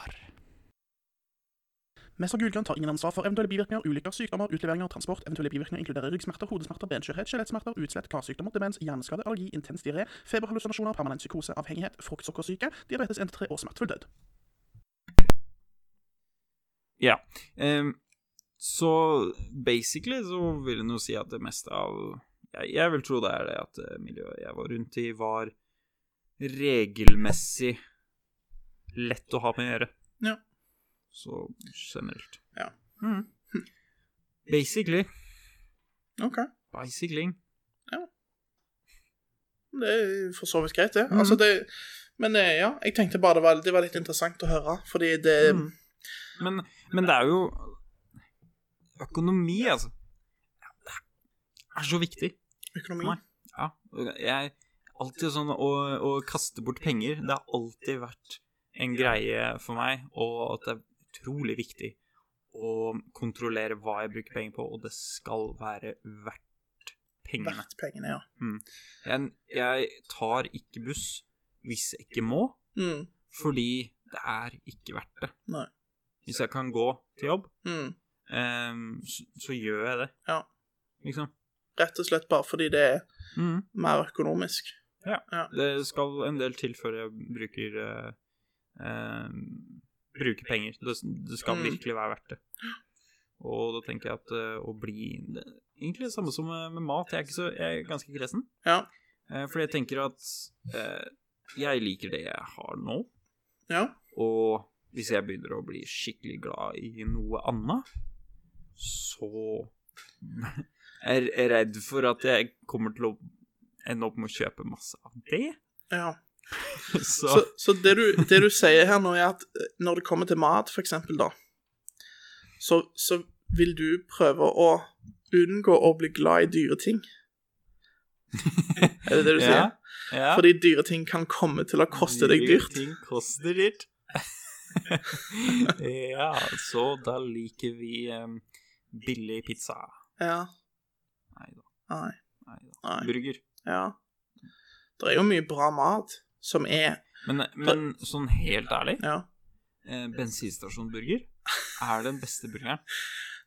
Mester Gulgrønn tar ingen ansvar for eventuelle bivirkninger, ulykker, sykdommer, utleveringer, transport. Eventuelle bivirkninger inkluderer ryggsmerter, hodesmerter, benskjørhet, skjelettsmerter, utslett, karsykdommer, demens, hjerneskade, allergi, intens diaré, feberhallusinasjoner, permanent psykose, avhengighet, fruktsukkersyke, diabetes 1-3 og smertefull død. Ja. så basically så vil en jo si at det meste av jeg, jeg vil tro det er det at eh, miljøet jeg var rundt i, var regelmessig lett å ha med å gjøre. Ja. Så generelt. Ja. Mhm. [laughs] Basically. Ok. Bicycling. Det er for så vidt greit, det. Mhm. Altså, det men eh, ja, jeg tenkte bare det var, det var litt interessant å høre, fordi det Mhm. Men, men det er jo Økonomi, altså. Det er så viktig. Økonomi Nei. Ja, jeg Alltid sånn å, å kaste bort penger. Det har alltid vært en greie for meg, og at det er utrolig viktig å kontrollere hva jeg bruker penger på, og det skal være verdt pengene. verdt pengene, ja. Jeg, jeg tar ikke buss hvis jeg ikke må, Mm. fordi det er ikke verdt det. Nei. Hvis jeg kan gå til jobb, Mm. ehm, så, så gjør jeg det. Ja. Liksom. Rett og slett bare fordi det er Mm. mer økonomisk. Det skal en del til før jeg bruker eh, eh, Bruker penger. Det, det skal Mm. virkelig være verdt det. Og da tenker jeg at eh, å bli det, er Egentlig det samme som eh, med mat. Jeg er, ikke så, jeg er ganske kresen. Ja. Eh, fordi jeg tenker at eh, jeg liker det jeg har nå. Ja. Og hvis jeg begynner å bli skikkelig glad i noe annet, så [laughs] er jeg redd for at jeg kommer til å ende opp med å kjøpe masse av det. ja. Så, Så, så det, du, det du sier her nå, er at eh, når det kommer til mat, for eksempel, da, så, så vil du prøve å unngå å bli glad i dyre ting. Er det [laughs] det du sier? Ja, ja. Fordi dyre ting kan komme til å koste deg Dyre dyrt. Ting koster dyrt. [laughs] ja, så da liker vi em, billig pizza. Ja. Nei da. Nei. Nei da. Nei. Burger. Ja. Det er jo mye bra mat som er Men, men sånn helt ærlig, Ja. [laughs] eh, bensinstasjonburger er den beste burgeren.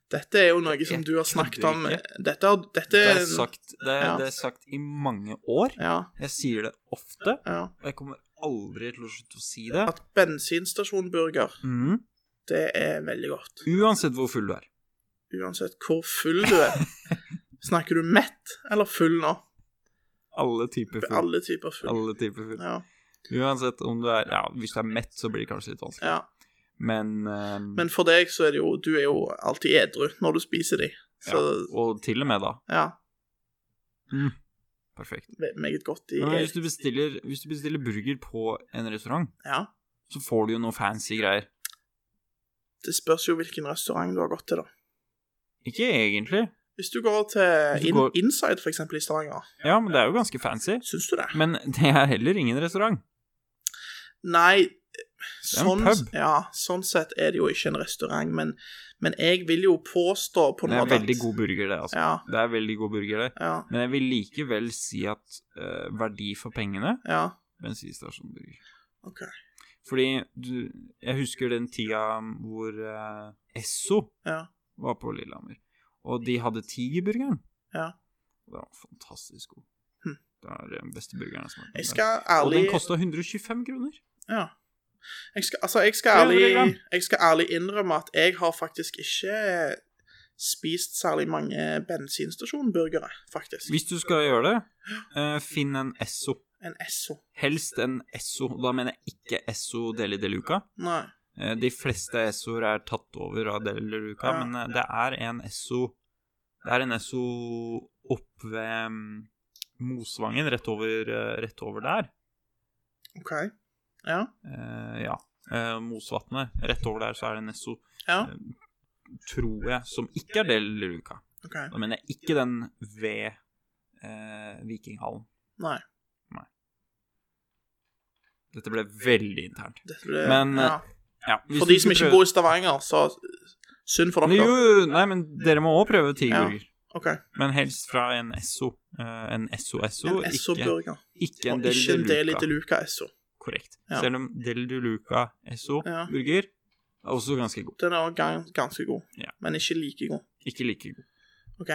Dette er jo noe som Jeg du har snakket kødder om ikke. Dette, har- dette Det er er sagt, det er, ja. det er sagt i mange år. Ja, Jeg sier det ofte, ja. og jeg kommer aldri til å slutte å si det. At bensinstasjonburger, Mhm. det er veldig godt. Uansett hvor full du er. Uansett hvor full du [laughs] er. Snakker du mett eller full nå? Alle typer full. Alle typer full. Alle typer full. Ja, Uansett om du er Ja, hvis du er mett, så blir det kanskje litt vanskelig. ja. Men, ehm, Men for deg så er det jo Du er jo alltid edru når du spiser de. Så ja, ehm, Og til og med da. ja, Perfekt. ve- meget godt i Men hvis eget. du bestiller, hvis du bestiller burger på en restaurant, Ja. så får du jo noe fancy greier. Det spørs jo hvilken restaurant du har gått til, da. Ikke egentlig. Hvis du går til Hvis du In går- Inside, for eksempel, i Stavanger, Ja, men det er jo ganske fancy. syns du det? Men det er heller ingen restaurant. Nei, er en sånn, pub. ja, sånn sett er det jo ikke en restaurant, men, men jeg vil jo påstå på Det noe er veldig god burger, det, altså. Ja, Det er veldig god burger, det. ja, Men jeg vil likevel si at eh, verdi for pengene ja. bensinstasjonburger. Ok. Fordi du Jeg husker den tida hvor eh, Esso Ja. var på Lillehammer, og de hadde tigerburgeren. Ja. Og Den var fantastisk god. Hm. Det er den beste burgeren jeg smaker. Jeg skal Og ærlig den kosta 125 kroner. Ja. Jeg skal, altså, jeg skal, Det er veldig ærlig, bra. jeg skal ærlig innrømme at jeg har faktisk ikke spist særlig mange bensinstasjonburgere, faktisk. Hvis du skal gjøre det, eh, finn en Esso. En Esso. Helst en Esso. Da mener jeg ikke Esso Deli de Luca. Nei. Eh, De fleste Essoer er tatt over av Deli de Luca, Ja. men eh, det er en Esso Det er en Esso opp ved mm, Mosvangen, rett over, eh, rett over der. OK. Ja. Eh, ja. Eh, Mosvatnet. Rett over der så er det en Esso, Ja. tror jeg, som ikke er Deli de Luca. OK. Da mener jeg ikke den ved eh, Vikinghallen. Nei. Dette ble veldig internt. Dette ble Men, ja. Ja, hvis For du de som skulle ikke prøve- bor i Stavanger, så synd for Jo, dere. jo, nei, men dere må òg prøve tigerburger. OK. Men helst fra en Esso. Eh, en Esso-Esso, En ikke, Esso-burger. ikke en Og ikke en Del del i Luca. Deluca Esso. Korrekt. Ja. Selv om Del Luca Ja. Esso-burger er også ganske god. Den er også gan- ganske god, Ja. men ikke like god. Ikke like god. OK.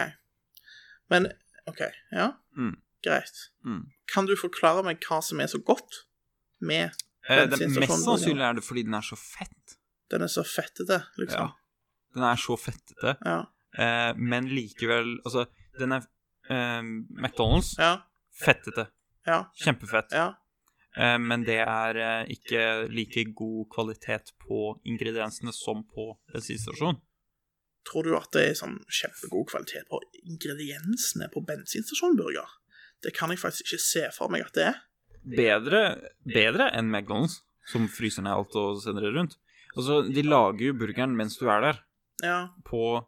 Men OK, ja. Mm. Greit. Mm. Kan du forklare meg hva som er så godt med Eh, det, Bensinstasjon mest burger. sannsynlig er det fordi den er så fett. Den er så fettete, Ja. liksom? Den er så fettete, Ja. eh, men likevel Altså, den er eh, McDonald's Ja. fettete. Ja. Kjempefett. ja. Eh, Men det er eh, ikke like god kvalitet på ingrediensene som på bensinstasjon. Tror du at det er sånn kjempegod kvalitet på ingrediensene på bensinstasjonburger? Det kan jeg faktisk ikke se for meg at det er. Bedre, bedre enn McDonald's, som fryser ned alt og sender det rundt. Altså, de lager jo burgeren mens du er der, Ja, på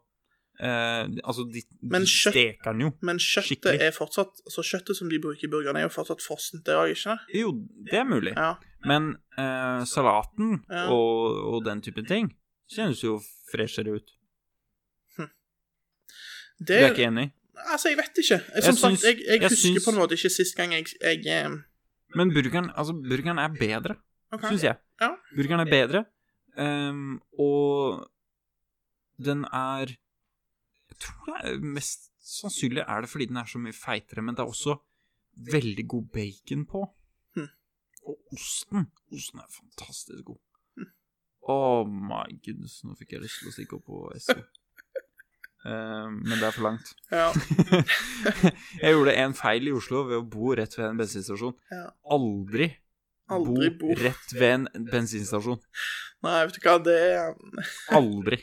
eh, Altså, de, Men de kjøtt- steker den jo. Men kjøttet Skikkelig. er fortsatt Så kjøttet som de bruker i burgeren, er jo fortsatt frossent, det òg, ikke sant? Jo, det er mulig. Ja. Men eh, salaten Ja. og, og den typen ting kjennes jo freshere ut. Du Det, er ikke enig? Altså, jeg vet ikke. Jeg, Jeg som sagt, syns- jeg, jeg, jeg husker syns- på en måte ikke sist gang jeg, jeg eh, Men burgeren, altså, burgeren er bedre. OK. syns jeg. Ja. Burgeren er bedre, ehm, og den er Jeg tror det er mest sannsynlig er det fordi den er så mye feitere, men det er også veldig god bacon på. Hm. Og osten. Osten er fantastisk god. Hm. Oh my goodness, nå fikk jeg lyst til å stikke opp på SO. [laughs] Ehm, men det er for langt. Ja. [laughs] jeg gjorde en feil i Oslo ved å bo rett ved en bensinstasjon. Ja. Aldri Aldri bo bo. rett ved en bensinstasjon. Nei, vet du hva, det er Aldri.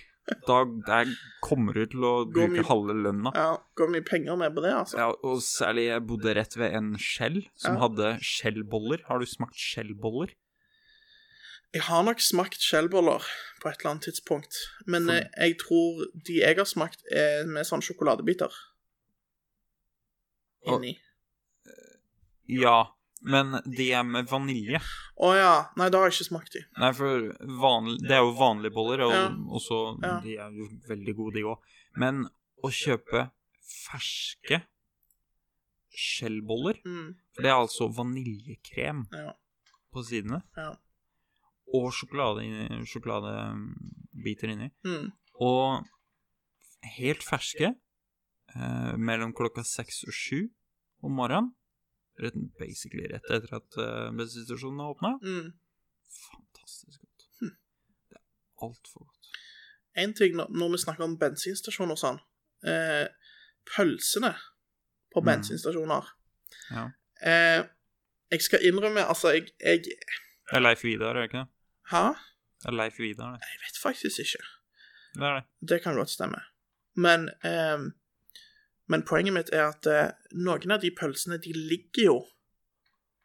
Da der kommer du til å Går bruke mye- halve lønna. Ja, går mye penger med på det, altså. Ja, og særlig jeg bodde rett ved en skjell som Ja. hadde skjellboller. Har du smakt skjellboller? Jeg har nok smakt skjellboller på et eller annet tidspunkt, men For- eh, jeg tror de jeg har smakt, er med sånn sjokoladebiter Og- inni. Ja, men de er med vanilje. Å ja. Nei, da har jeg ikke smakt de. Nei, for vanlig, det er jo vanlige boller, og Ja. også, Ja. de er jo veldig gode, de òg. Men å kjøpe ferske skjellboller Mm, For det er altså vaniljekrem ja. på sidene. Ja. Og sjokolade inni, sjokoladebiter inni. Mm. Og helt ferske eh, mellom klokka seks og sju om morgenen. Rett, basically rett etter at eh, bensinstasjonen har åpna. Mm. Fantastisk godt. Hm. Det er altfor godt. En ting når- når vi snakker om bensinstasjoner og sånn eh, Pølsene på Mm. bensinstasjoner Ja. eh, Jeg skal innrømme, altså jeg, jeg Det er Leif Vidar, er det ikke det? Hæ? Det er Leif Vidar, det. Jeg vet faktisk ikke. Det er det. Det kan godt stemme. Men, ehm, men poenget mitt er at eh, noen av de pølsene, de ligger jo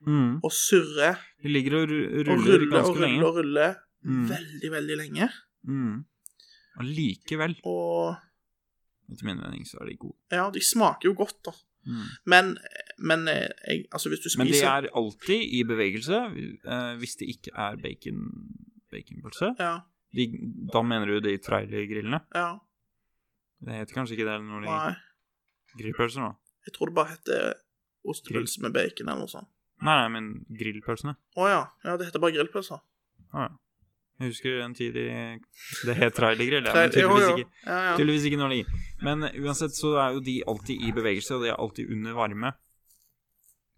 Mm. og surrer De ligger og ru- og ruller, ruller og ganske ruller lenge. og ruller Mm. veldig, veldig lenge. Mm. Og likevel, Og etter min mening, så er de gode. ja, de smaker jo godt, da. Mm. Men, men eh, jeg, altså, hvis du Men de spiser er alltid i bevegelse eh, hvis det ikke er bacon baconpølse. Ja, De, da mener du de trailergrillene? ja, Det heter kanskje ikke det når de nei. grillpølser nå? Jeg tror det bare heter ostepølse med bacon eller noe sånt. Nei, nei, men grillpølsene. Å ja. ja, det heter bare grillpølser. Ah, ja. Jeg husker en tid i Det het trailergrill, ja, Tre- men tydeligvis jo, jo. ikke. Ja, ja. Tydeligvis ikke når de Men uansett så er jo de alltid i bevegelse, og de er alltid under varme.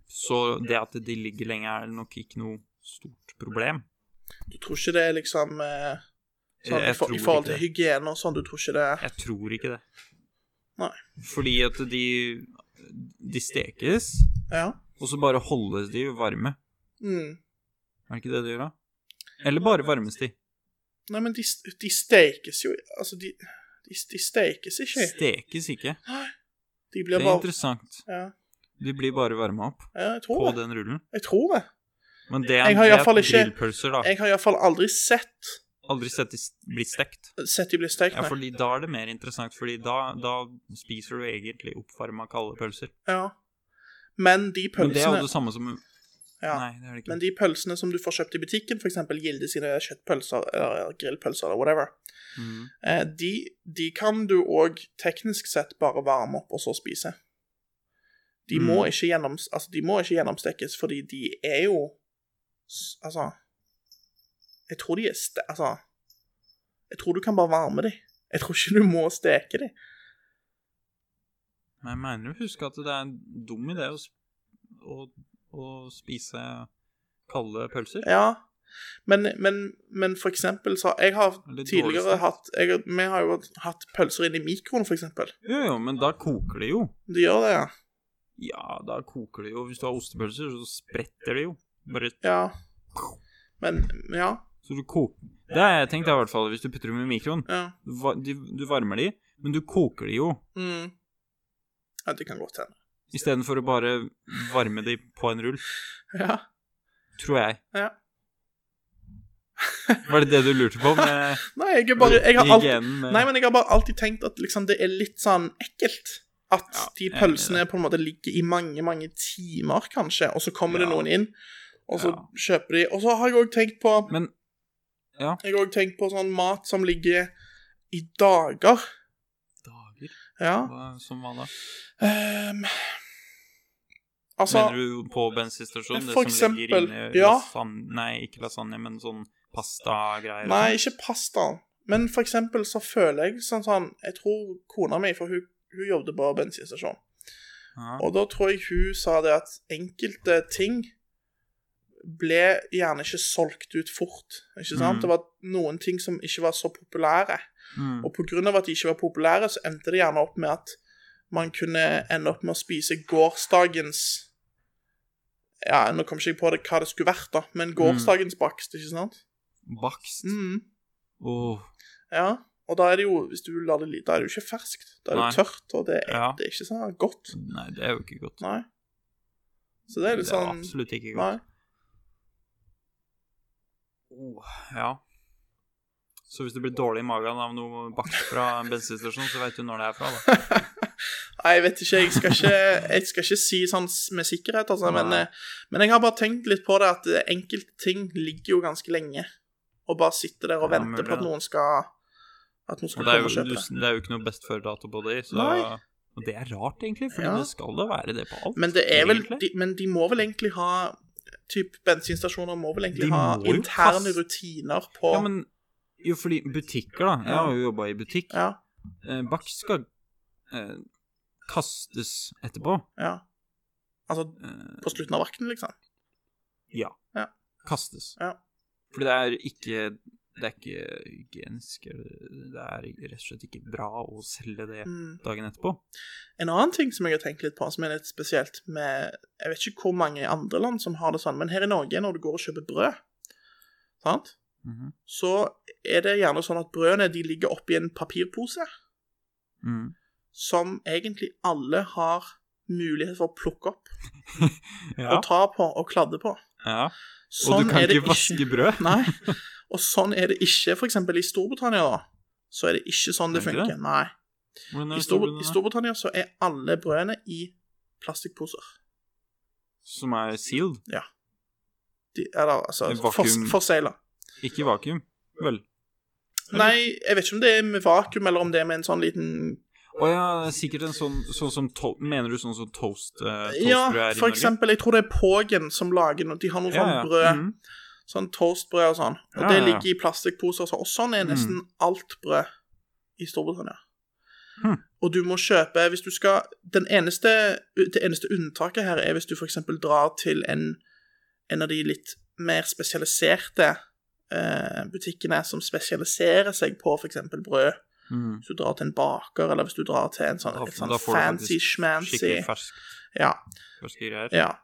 Så det at de ligger lenge, er nok ikke noe stort problem. Du tror ikke det er liksom eh, sånn, i, Jeg for, tror I forhold ikke til det. hygiene og sånn, du tror ikke det Jeg tror ikke det. Nei. Fordi at de De stekes, Ja. og så bare holdes de varme. Mm. Er det ikke det de gjør, da? Eller bare varmes de. Nei, men de, de steikes jo Altså, de, de, de steikes ikke. Stekes ikke. De Det blir er bare interessant. ja. De blir bare varma opp ja, jeg på tror det. den rullen. Jeg tror det. Men det er, Jeg har i det hvert fall er ikke- grillpølser, da. Jeg har iallfall aldri sett, Aldri sett de s- bli stekt. sett de bli steikt, Ja, nei. fordi da er det mer interessant, fordi da, da spiser du egentlig oppvarma kalde pølser. Ja. Men Men de det er pølsene jo det samme som ja. Nei, det er det ikke. Men de pølsene som du får kjøpt i butikken, f.eks. Gilde sine kjøttpølser eller grillpølser eller whatever, Mm. eh, de, de kan du òg teknisk sett bare varme opp og så spise. De, Mm. må ikke gjennoms, altså, de må ikke gjennomstekkes, fordi de er jo s- Altså Jeg tror de er ste... Altså Jeg tror du kan bare varme de. Jeg tror ikke du må steke de. Men jeg mener å huske at det er en dum idé å, sp- å, å spise kalde pølser. Ja. Men, men, men for eksempel så Jeg har Eller dårligste. tidligere hatt jeg, Vi har jo hatt pølser inn i mikroen, for eksempel. Jo, jo, men da koker det jo. De gjør det, ja. Ja, da koker det jo. Hvis du har ostepølser, så spretter det jo. Bare Ja. Men Ja. så du koker Det har jeg tenkt, da, i hvert fall, hvis du putter dem i mikroen. ja. Du va- de- Du varmer de, men du koker de jo. Mm. Ja, det kan godt hende. Istedenfor å bare varme de på en rull, Ja. tror jeg. Ja. Var det det du lurte på med Nei, [laughs] jeg er bare Jeg har alltid hygienen med Nei, men jeg har bare alltid tenkt at liksom det er litt sånn ekkelt. At Ja, de jeg er enig pølsene på en måte ligger i mange, mange timer, kanskje, og så kommer Ja. det noen inn, og så Ja. kjøper de. Og så har jeg òg tenkt på Men- ja. Jeg har òg tenkt på sånn mat som ligger i dager. Dager? Ja. Hva- Som hva da? Ehm, altså Mener du på bensinstasjonen? Det for som ligger eksempel, inne i ja. lasagne Nei, ikke lasagne, men sånn pastagreier. og Nei, ikke pastaen. Men for eksempel så føler jeg sånn sånn Jeg tror kona mi, for hun, hun jobbet på sånn. bensinstasjon. Ja. Og da tror jeg hun sa det at enkelte ting ble gjerne ikke solgt ut fort. Ikke sant? Mm. Det var noen ting som ikke var så populære. Mm. Og pga. at de ikke var populære, så endte det gjerne opp med at man kunne ende opp med å spise gårsdagens Ja, nå kom ikke jeg på det, hva det skulle vært, da, men Mm. gårsdagens bakst, ikke sant? Bakst. Oh, Mm. Åh, Ja. Og da er det jo hvis du lar det, li- da er det jo ikke ferskt. Da er det Nei. tørt, og det er, Ja. det er ikke sånn godt. Nei, det er jo ikke godt. Nei. Så det er litt sånn absolutt ikke Nei. godt. Åh, Oh, ja. Så hvis du blir dårlig i magen av noe bakst fra en bensinstasjon, så veit du når det er fra, da. Nei, jeg vet ikke. Jeg skal ikke, jeg skal ikke si sånn s- med sikkerhet, altså. Men, Nei. eh, men jeg har bare tenkt litt på det at eh, enkelte ting ligger jo ganske lenge. Og bare sitter der og Ja, venter mulig, på at da. noen skal At noen skal Og det er komme og jo, kjøpe du, det. det er jo ikke noe best før-dato på de, så Nei. Og det er rart, egentlig, for Ja. det skal da være det på alt. Men det er vel egentlig. de, Men de må vel egentlig ha Typ bensinstasjoner må vel egentlig De ha må jo interne passe- rutiner på Ja, men jo, fordi butikker, da. Jeg har jo jobba i butikk. Ja. eh, Bach skal eh, kastes etterpå. Ja. Altså Eh, på slutten av vakten, liksom. ja. Ja. Kastes. Ja. Fordi det er ikke Det er ikke hygienisk. eller Det er rett og slett ikke bra å selge det Mm. dagen etterpå. En annen ting som jeg har tenkt litt på, som er litt spesielt med Jeg vet ikke hvor mange andre land som har det sånn, men her i Norge, når du går og kjøper brød, sant, Mhm. så er det gjerne sånn at brødene de ligger oppi en papirpose Mm. som egentlig alle har mulighet for å plukke opp Ja. og ta på og kladde på. ja. Og Sånn du kan er det ikke vaske brød. [laughs] Nei. Og sånn er det ikke f.eks. i Storbritannia, da. Så er det ikke sånn det Er det ikke funker. Nei. Hvordan er I, det Stor Storbritannia? I Storbritannia så er alle brødene i plastikkposer. Som er sealed, De, eller altså Det er fors vakuum. forsegla. ikke vakuum. Vel. Nei, jeg vet ikke om det er med vakuum, eller om det er med en sånn liten Å ja, sikkert en sånn, sånn som to Mener du sånn som toast, eh, toastbrød Ja, er i Norge? for eksempel, jeg tror det er Pågen som lager noe. De har noe sånn brød, Mhm. sånn toastbrød og sånn. Og Ja, det ja, ja. ligger i plastikkposer og sånn. Og sånn er Mm. nesten alt brød i Storbritannia. Hm. Og du må kjøpe hvis du skal den eneste, Det eneste unntaket her er hvis du f.eks. drar til en, en av de litt mer spesialiserte eh, butikkene som spesialiserer seg på f.eks. brød. Mhm. Hvis du drar til en baker, eller hvis du drar til en sånn, Da- et sånn da får du fancy faktisk schmancy Skikkelig fersk, ja, ferske greier. ja.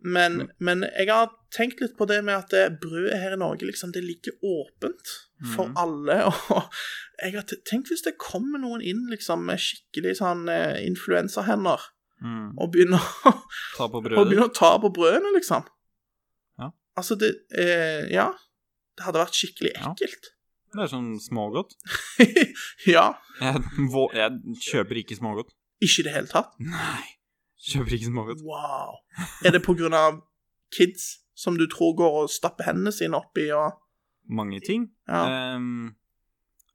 Men, Mm. men jeg har tenkt litt på det med at det brødet her i Norge liksom, det ligger åpent for Mhm. alle. [laughs] Og jeg har t- tenkt hvis det kommer noen inn liksom, med skikkelig sånn eh, influensahender Mhm. og, begynner [laughs] å- Ta på og brødet. begynner å ta på brødene, liksom. Ja. Altså, det eh, Ja. Det hadde vært skikkelig Ja. ekkelt. [laughs] Det er sånn smågodt. ja. Jeg, [laughs] vå- jeg kjøper ikke smågodt. Ikke i det hele tatt. Nei. Kjøper ikke smågodt. Wow. Er det på grunn av kids som du tror går og stapper hendene sine oppi og Mange ting. Ja. Ehm,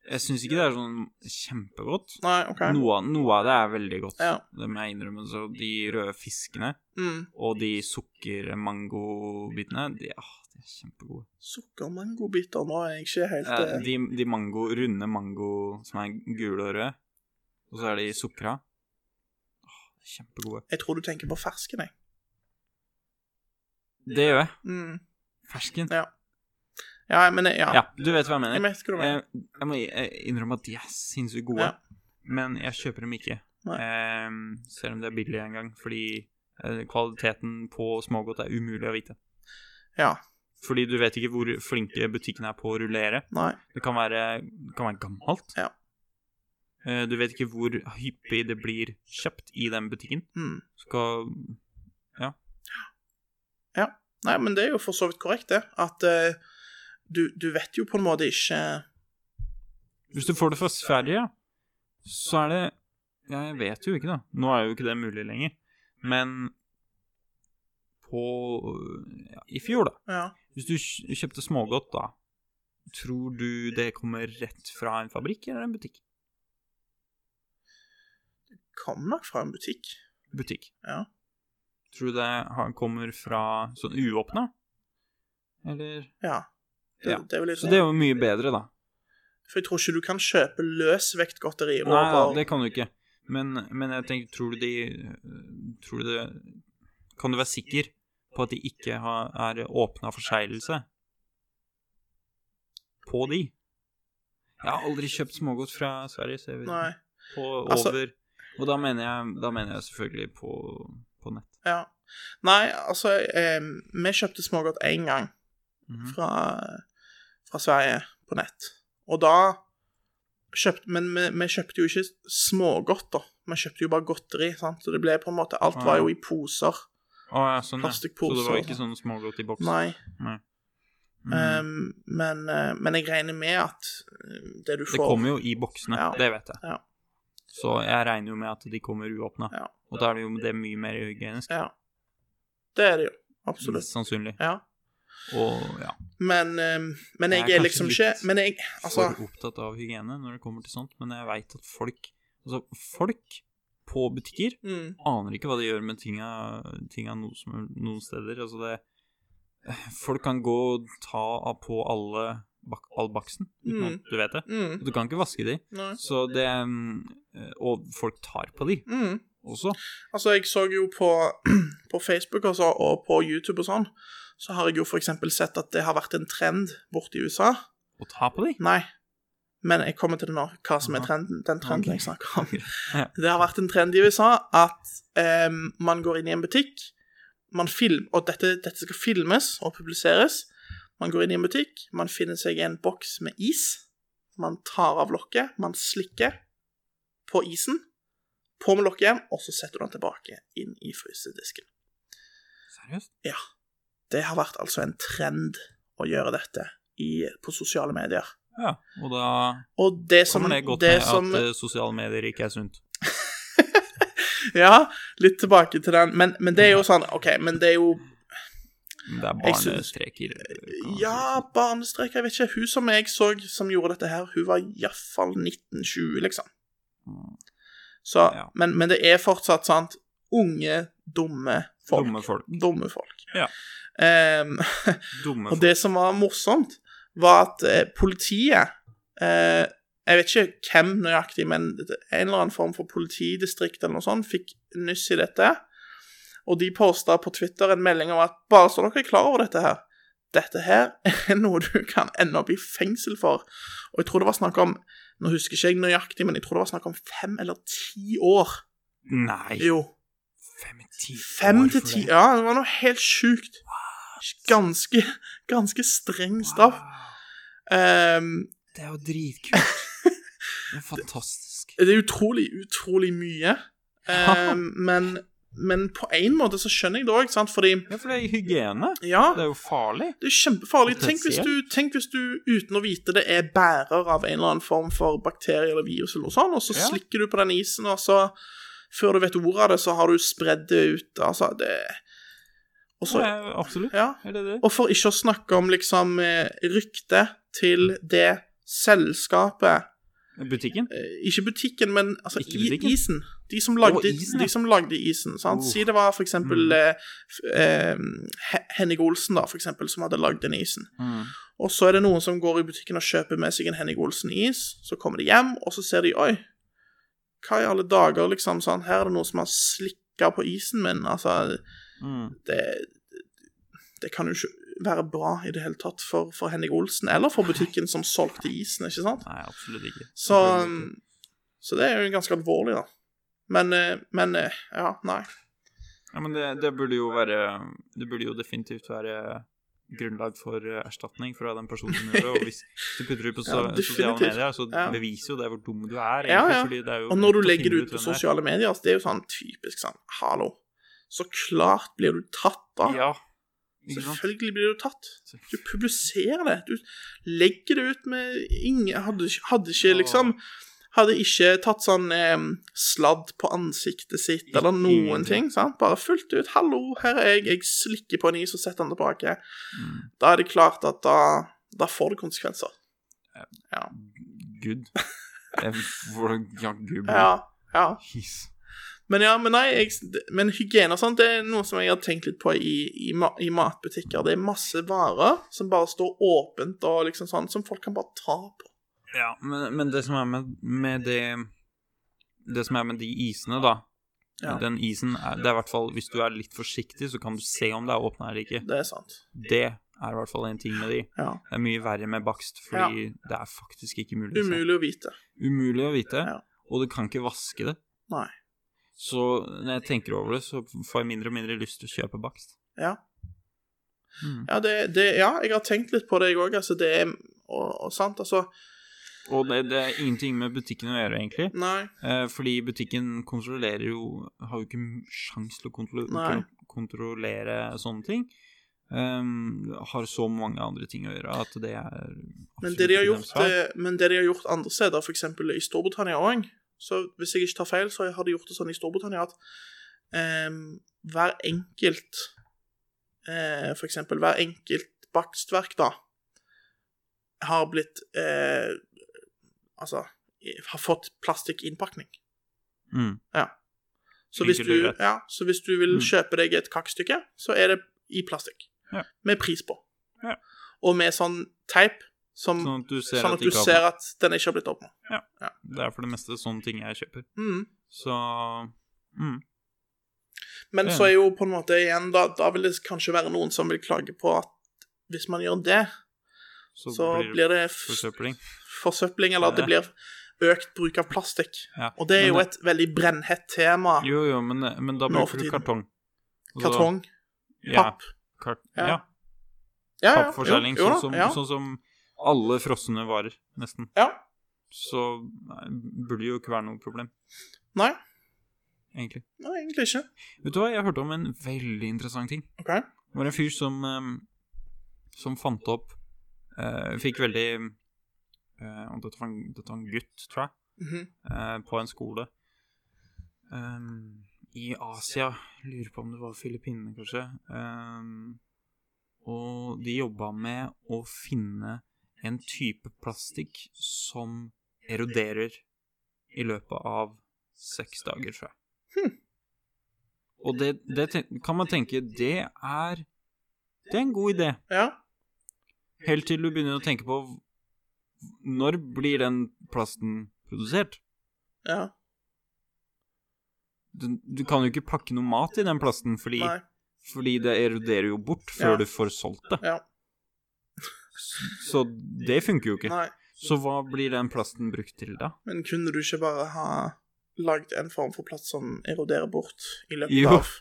jeg syns ikke det er sånn kjempegodt. Nei, OK. Noe, av- noe av det er veldig godt, Ja. det må jeg innrømme. Så de røde fiskene Mm. og de sukkermangobitene, de, ah, de er kjempegode. Sukkermangobiter nå er jeg ikke helt Eh, eh, de, de mango, runde mango som er gule og røde, og så er de sukra. Åh, de er Kjempegode. Jeg tror du tenker på fersken, jeg. Det gjør jeg. Mm. Fersken. Ja. Ja, men jeg- ja. Ja, du vet hva jeg Jeg mener. vet hva du mener. Jeg, jeg må eh, innrømme at de er sinnssykt gode, Ja. men jeg kjøper dem ikke. Nei. Ehm, selv om det er billig en gang, fordi eh, kvaliteten på smågodt er umulig å vite. Ja. Fordi du vet ikke hvor flinke butikkene er på å rullere. Nei. Det kan være, det kan være gammelt. Ja. Eh, Du vet ikke hvor hyppig det blir kjøpt i den butikken. Mm. Skal Nei, men det er jo for så vidt korrekt, det. At eh, du, du vet jo på en måte ikke Hvis du får det fra Sverige, så er det ja, Jeg vet jo ikke, da. Nå er jo ikke det mulig lenger. Men på ja, I fjor, da. Ja. Hvis du kj- kjøpte smågodt, da. Tror du det kommer rett fra en fabrikk eller en butikk? Kommer nok fra en butikk. Butikk. Ja. Tror du det har- kommer fra sånn uåpna? Eller Ja. Det, Ja. det er jo litt Så det er jo mye bedre, da. For jeg tror ikke du kan kjøpe løsvektgodteri Nei, ja, over det kan du ikke. Men, men jeg tenker, tror du de Tror du det Kan du være sikker på at de ikke har, er åpna for seglelse? På de? Jeg har aldri kjøpt smågodt fra Sverige, så jeg vet Nei. ikke. På Altså- over Og da mener jeg, da mener jeg selvfølgelig på, på nett. Ja. Nei, altså eh, Vi kjøpte smågodt én gang Mhm. fra, fra Sverige på nett. Og da kjøpte Men vi, vi kjøpte jo ikke smågodt, da. Vi kjøpte jo bare godteri. sant? Så det ble på en måte Alt var jo i poser. Å ja, sånn, ja. Så Plastikkpose det var og ikke sånn smågodt i boks? Nei. Mhm. eh, men, eh, men jeg regner med at eh, det du Det får kommer jo i boksene, Ja. det vet jeg. Ja. Så jeg regner jo med at de kommer uåpna. Ja. Og da er det jo det er mye mer hygienisk. Ja. Det er det jo. Absolutt. Mest sannsynlig. Ja. Og ja, Men, eh, men Jeg er jeg er kanskje liksom ikke litt Men jeg Altså, for opptatt av hygiene når det kommer til sånt, men jeg veit at folk Altså, folk på butikker mm, aner ikke hva de gjør med tinga, tinga noe som, noen steder. Altså, det Folk kan gå og ta av på alle bak albaksen. uten Mm. at Du vet det. Mm. Du kan ikke vaske de. Nei. Så det mm, Og folk tar på de Mm. også. Altså, jeg så jo på, [clears throat] på Facebook og, så, og på YouTube og sånn, så har jeg jo for eksempel sett at det har vært en trend borte i USA. Å ta på de. Nei, men jeg kommer til det nå, hva som er Aha. trenden, den trenden Ok. [laughs] jeg snakker om. Ja. Det har vært en trend i USA at em, man går inn i en butikk, man film, og dette, dette skal filmes og publiseres. Man går inn i en butikk, man finner seg en boks med is, man tar av lokket, man slikker på isen, på med lokket igjen, og så setter du den tilbake inn i frysedisken. Seriøst? Ja. Det har vært altså en trend å gjøre dette i, på sosiale medier. Ja. Og da Og det som, kommer det godt det med som at eh, sosiale medier ikke er sunt. Ja, litt tilbake til den. Men, men [laughs] det er jo sånn OK, men det er jo Men Det er Jeg synes- barnestreker. eh, kan man Ja, si. barnestreker, jeg vet ikke. Hun som jeg så som gjorde dette her, hun var iallfall 1920, liksom. Mm. Så, Ja. men, men det er fortsatt sant. Unge, dumme folk. Dumme folk. Dumme folk. Ja. Ehm, [laughs] Dumme og folk. det som var morsomt, var at eh, politiet eh, Jeg vet ikke hvem nøyaktig, men en eller annen form for politidistrikt eller noe sånt fikk nyss i dette. Og de posta på Twitter en melding om at bare så dere er klar over dette her Dette her er noe du kan ende opp i fengsel for. Og jeg tror det var snakk om Nå husker ikke jeg nøyaktig, men jeg tror det var snakk om fem eller ti år. Nei. Jo. Fem til ti. Fem år til for ti det. Ja, det var noe helt sjukt. Ganske, ganske streng straff. Wow. Ehm, Det er jo dritkult. Det er fantastisk. det er utrolig, utrolig mye. Ehm, men, men på en måte så skjønner jeg det òg, sant, fordi Ja, for det er hygiene. Ja, Det er jo farlig. det er kjempefarlig. Tenk hvis, du, tenk hvis du uten å vite det er bærer av en eller annen form for bakterie eller virus eller noe sånt, og så Ja. slikker du på den isen, og så Før du vet ordet av det, så har du spredd det ut. Altså, det Og så Ja, absolutt. Ja. Er det det? Og for ikke å snakke om liksom eh, ryktet til det selskapet Butikken? eh, Ikke butikken, men altså Ikke i- butikken? isen. De som lagde, Å, isen, ja. de som lagde isen. Sant? Oh. Si det var for eksempel Mm. eh, f- eh, He- Henning Olsen, da, for eksempel, som hadde lagd den isen. Mm. Og så er det noen som går i butikken og kjøper med seg en Henning Olsen-is. Så kommer de hjem, og så ser de Oi, hva i alle dager, liksom? Sånn, her er det noen som har slikka på isen min. Altså, Mm. det, det kan jo ikke være bra i det hele tatt for, for Henning Olsen, eller for butikken som solgte isen, ikke sant? Nei, absolutt ikke. Så, Selvfølgelig um, ikke. så det er jo ganske alvorlig, da. Men, eh, men eh, ja, nei. Ja, men det, det burde jo være Det burde jo definitivt være grunnlag for eh, erstatning fra den personen som gjør det. Og hvis du putter det ut på so [laughs] Ja, definitivt. sosiale medier, så Ja. beviser jo det hvor dum du er. Ja, egentlig, ja. Fordi det er jo Og når du lett å legger det finne ut på hvem er. sosiale medier, altså, det er jo sånn typisk sånn Hallo. Så klart blir du tatt, da. Ja. Ikke sant? Selvfølgelig blir du tatt. Du publiserer det. Du legger det ut med ingen Hadde, ikke- hadde ikke Åh. liksom Hadde ikke tatt sånn eh, sladd på ansiktet sitt eller noen Ingenting. ting. sant? Bare fullt ut 'Hallo, her er jeg. Jeg slikker på en is og setter den tilbake.' Mm. Da er det klart at da, da får det konsekvenser. Gud. Det er- Hvordan Ja, gud. Ja, ja. Jeez. Men ja, men nei, jeg, men hygiene og sånt, det er noe som jeg har tenkt litt på i, i, ma- i matbutikker. Det er masse varer som bare står åpent og liksom sånn, som folk kan bare ta på. Ja, men, men det som er med, med det Det som er med de isene, da Ja. Den isen er, Det er i hvert fall Hvis du er litt forsiktig, så kan du se om det er åpna eller ikke. Det er sant. Det er i hvert fall en ting med de. Ja. Det er mye verre med bakst, fordi det er faktisk ikke mulig. å se. Umulig å vite. Umulig å vite, Ja. og du kan ikke vaske det. Nei. Så når jeg tenker over det, så får jeg mindre og mindre lyst til å kjøpe bakst. Ja. Mm. Ja, det, det, ja jeg har tenkt litt på det, jeg òg. Altså, det er og, og sant, altså. Og det, det er ingenting med butikken å gjøre, egentlig. Nei. Eh, fordi butikken kontrollerer jo Har jo ikke m- sjans til å kontro Nei. kon- kontrollere sånne ting. Ehm, har så mange andre ting å gjøre at det er Men absolutt det de har ikke gjort, deres feil. eh, men det de har gjort andre steder, f.eks. i Storbritannia òg Så hvis jeg ikke tar feil, så har de gjort det sånn i Storbritannia at em, hver enkelt eh, For f.eks. hver enkelt bakstverk, da, har blitt eh, Altså i- har fått plastikkinnpakning. mm. Så hvis, Enkelt og du, greit. ja, så hvis du vil Mm. kjøpe deg et kakestykke, så er det i plastikk. Ja. Med pris på. Ja. Og med sånn teip Som, Sånn at du ser at sånn at de du ikke har ser at den ikke har blitt åpna. Det er for det meste sånne ting jeg kjøper. Mm. Så mm. Men Ja. så er jo på en måte igjen da, da vil det kanskje være noen som vil klage på at hvis man gjør det, Så, så blir det blir det f- forsøpling. forsøpling, eller at det blir økt bruk av plastikk. Ja. Og det er Men jo et veldig brennhett tema. Jo, jo, men, men da Nå for bruker du tiden. kartong. Og så- Kartong, Ja, papp. kart, Ja. ja. Ja, ja, Pappforselling, jo, jo sånn, da, som- ja, sånn som alle frosne varer, nesten. ja. Så nei, burde det jo ikke være noe problem, Nei, egentlig. nei, egentlig ikke. Vet du hva, jeg hørte om en veldig interessant ting. OK. Det var en fyr som eh, Som fant opp eh, Fikk veldig eh, og dette, var en, dette var en gutt, tror jeg, Mhm. eh, på en skole eh, i Asia. Lurer på om det var Filippinene, kanskje. Eh, og de jobba med å finne en type plastikk som eroderer i løpet av seks dager, tror jeg. Og det, det ten- kan man tenke, det er Det er en god idé. Ja. Helt til du begynner å tenke på v- når blir den plasten produsert? ja. Du, du kan jo ikke pakke noe mat i den plasten, fordi, Nei. fordi det eroderer jo bort før Ja. du får solgt det. Ja. S- Så det funker jo ikke. Nei. Så hva blir den plasten brukt til, da? Men kunne du ikke bare ha lagd en form for plast som eroderer bort i løpet Jo. av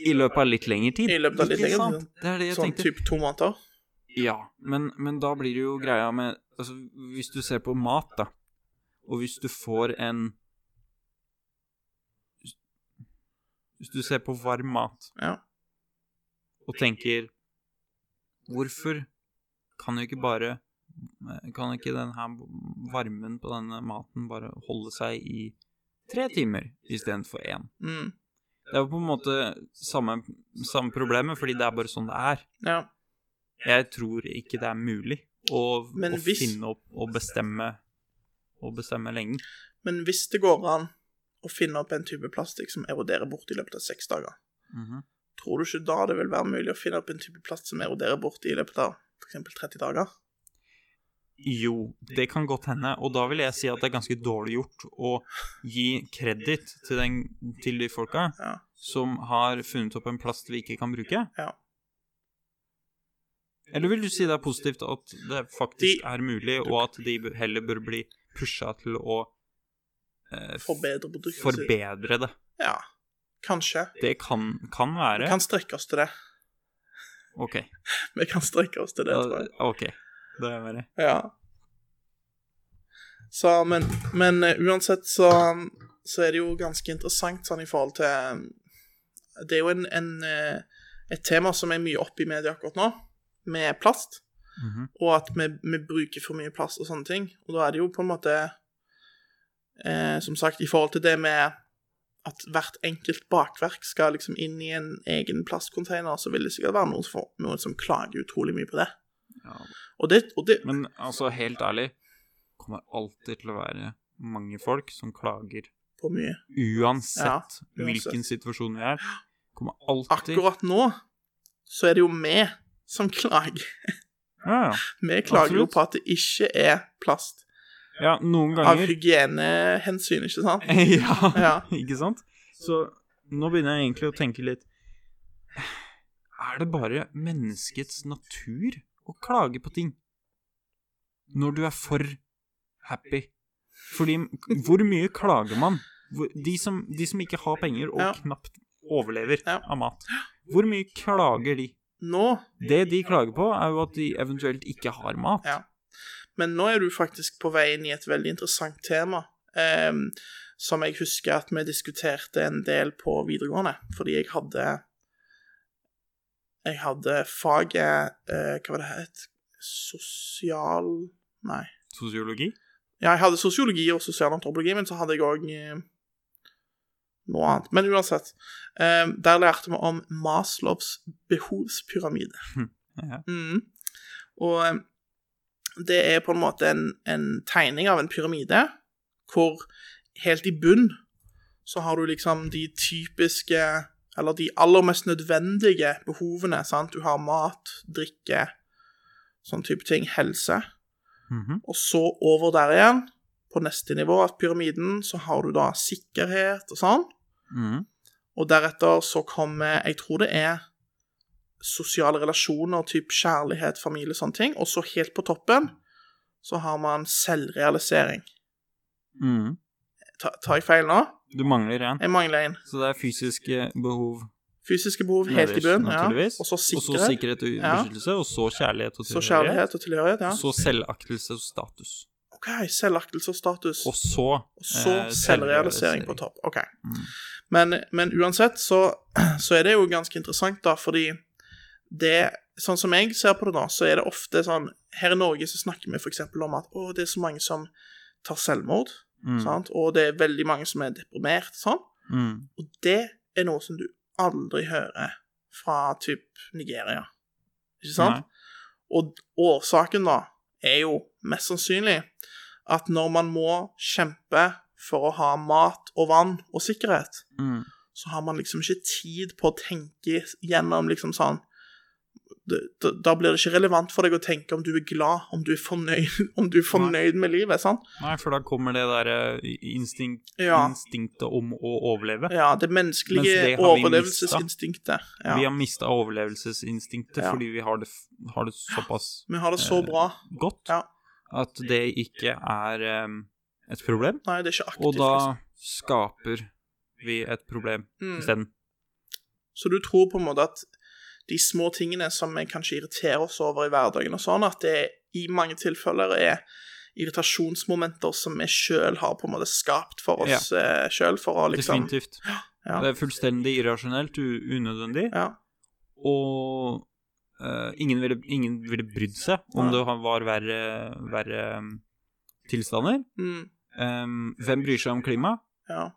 I løpet av litt lengre tid. I løpet av litt Ikke lengre sant? Det er det jeg sånn tenkte. type to måneder? Ja, men, men da blir det jo greia med Altså, hvis du ser på mat, da, og hvis du får en hvis- Hvis du ser på varm mat Ja. og tenker Hvorfor kan jo ikke bare Kan ikke den her varmen på denne maten bare holde seg i tre timer istedenfor én? Mm. Det er jo på en måte samme, samme problemet, fordi det er bare sånn det er. ja. Jeg tror ikke det er mulig å, Men å hvis- finne opp og bestemme og bestemme lengden. Men hvis det går an å finne opp en type plastikk som eroderer bort i løpet av seks dager, tror du ikke da det vil være mulig å finne opp en type plast som eroderer bort i løpet av f.eks. 30 dager? Jo, det kan godt hende, og da vil jeg si at det er ganske dårlig gjort å gi kreditt til, den- til de folka Ja. som har funnet opp en plast vi ikke kan bruke. Ja. Eller vil du si det er positivt at det faktisk De- er mulig, og at de heller bør bli pusha til å eh, Forbedre produktet sitt. forbedre det? Ja, kanskje. Det kan, kan være. Vi kan strekke oss til det. [laughs] OK. Vi kan strekke oss til det, Ja, tror jeg. OK. Det er bare Ja. Så, men, men eh, uansett så, så er det jo ganske interessant sånn i forhold til eh, Det er jo en, en, eh, et tema som er mye oppe i media akkurat nå, med plast. Mhm. og at vi, vi bruker for mye plast og sånne ting. Og da er det jo på en måte eh, Som sagt, i forhold til det med at hvert enkelt bakverk skal liksom inn i en egen plastcontainer, så vil det sikkert være noen, som- noen som klager utrolig mye på det. Ja. Og det, og det Men altså, helt ærlig, kommer alltid til å være mange folk som klager. på mye. Ja, Uansett uansett. hvilken situasjon vi er, kommer alltid Akkurat nå så er det jo vi som [laughs] klager. ja, ja. Vi klager jo Absolutt. på at det ikke er plast. ja, noen Av ganger Eh. hygienehensyn, ikke sant? [laughs] ja, Ja. ikke sant? Så nå begynner jeg egentlig å tenke litt Er det bare menneskets natur å klage på ting? Når du er for happy? Fordi hvor mye klager man? Hvor- De som, de som ikke har penger og Ja. knapt overlever Ja. av mat, hvor mye klager de? Nå Det de klager på, er jo at de eventuelt ikke har mat. Ja. Men nå er du faktisk på vei inn i et veldig interessant tema, ehm, som jeg husker at vi diskuterte en del på videregående, fordi jeg hadde Jeg hadde faget eh, Hva var det het? Sosial Nei. Sosiologi? Ja, jeg hadde sosiologi og sosialantropologi, men så hadde jeg òg noe annet. Men uansett. eh, der lærte vi om Maslows behovspyramide. Hm, Ja. Mm. Og eh, det er på en måte en, en tegning av en pyramide, hvor helt i bunn så har du liksom de typiske Eller de aller mest nødvendige behovene. sant? Du har mat, drikke, sånn type ting. Helse. Mhm. Og så over der igjen, på neste nivå av pyramiden, så har du da sikkerhet og sånn. Mhm. Og deretter så kommer Jeg tror det er sosiale relasjoner, typ kjærlighet, familie, sånne ting. Og så helt på toppen så har man selvrealisering. Mhm. Ta- Tar jeg feil nå? Du mangler en. Jeg mangler en. Så det er fysiske behov Fysiske behov helt i Nederst, bunnen. Ja. naturligvis. Og så Og så sikkerhet. sikkerhet og Ja. beskyttelse, og så kjærlighet og Så kjærlighet og tilhørighet. Og ja. så selvaktelse og status. OK, selvaktelse og status. Og så Og så eh, selvrealisering på topp. OK. Mm. Men, men uansett så, [clears throat] så er det jo ganske interessant, da, fordi det Sånn som jeg ser på det, da, så er det ofte sånn Her i Norge så snakker vi f.eks. om at å, det er så mange som tar selvmord, Mm. sant? og det er veldig mange som er deprimert, sånn. Mm. Og det er noe som du aldri hører fra typ Nigeria. Ikke sant? Og årsaken da er jo mest sannsynlig at når man må kjempe for å ha mat og vann og sikkerhet, Mm. så har man liksom ikke tid på å tenke gjennom liksom sånn det- da- Da blir det ikke relevant for deg å tenke om du er glad, om du er fornøyd, [laughs] om du er fornøyd med livet. sant? Nei, for da kommer det der eh, instinkt, Ja, instinktet om å overleve. ja det Mm. Mens menneskelige det har vi overlevelsesinstinktet. Ja. Vi har mista overlevelsesinstinktet Ja. fordi vi har det, f- har det såpass Vi har det så Eh, bra. godt Ja. at det ikke er eh, et problem. Nei, det er ikke aktivt. Og da liksom. skaper vi et problem Mm. isteden. Så du tror på en måte at de små tingene som vi kanskje irriterer oss over i hverdagen, og sånn, at det i mange tilfeller er irritasjonsmomenter som vi sjøl har på en måte skapt for oss ja. sjøl, for å liksom Definitivt. Ja. Det er fullstendig irrasjonelt, u- unødvendig, ja, og eh, ingen, ville, ingen ville brydd seg om Nei. det var verre, verre um, tilstander. mm, Um, hvem bryr seg om klima? ja.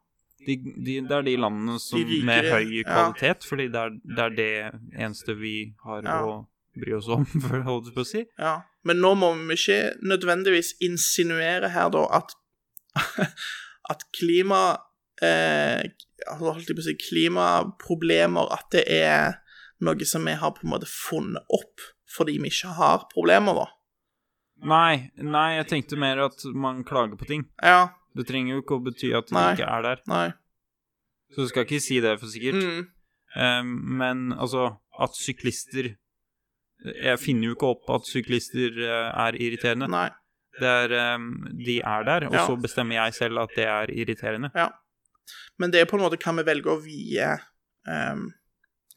De, de, det er de landene som, De rike, med høy ja. kvalitet, fordi det er, det er det eneste vi har Ja. å bry oss om, [laughs] for å holde det på å si. Ja. Men nå må vi ikke nødvendigvis insinuere her, da, at [laughs] at klima eh, altså, holdt jeg på å si klimaproblemer At det er noe som vi har på en måte funnet opp fordi vi ikke har problemer, da. Nei, nei, jeg tenkte mer at man klager på ting. Ja, Det trenger jo ikke å bety at det Nei. ikke er der. nei. Så du skal ikke si det for sikkert. Mm, Eh, men altså, at syklister eh, Jeg finner jo ikke opp at syklister eh, er irriterende. nei. Det er, eh, de er der, og Ja. så bestemmer jeg selv at det er irriterende. Men det er på en måte hva vi velger å vie ehm,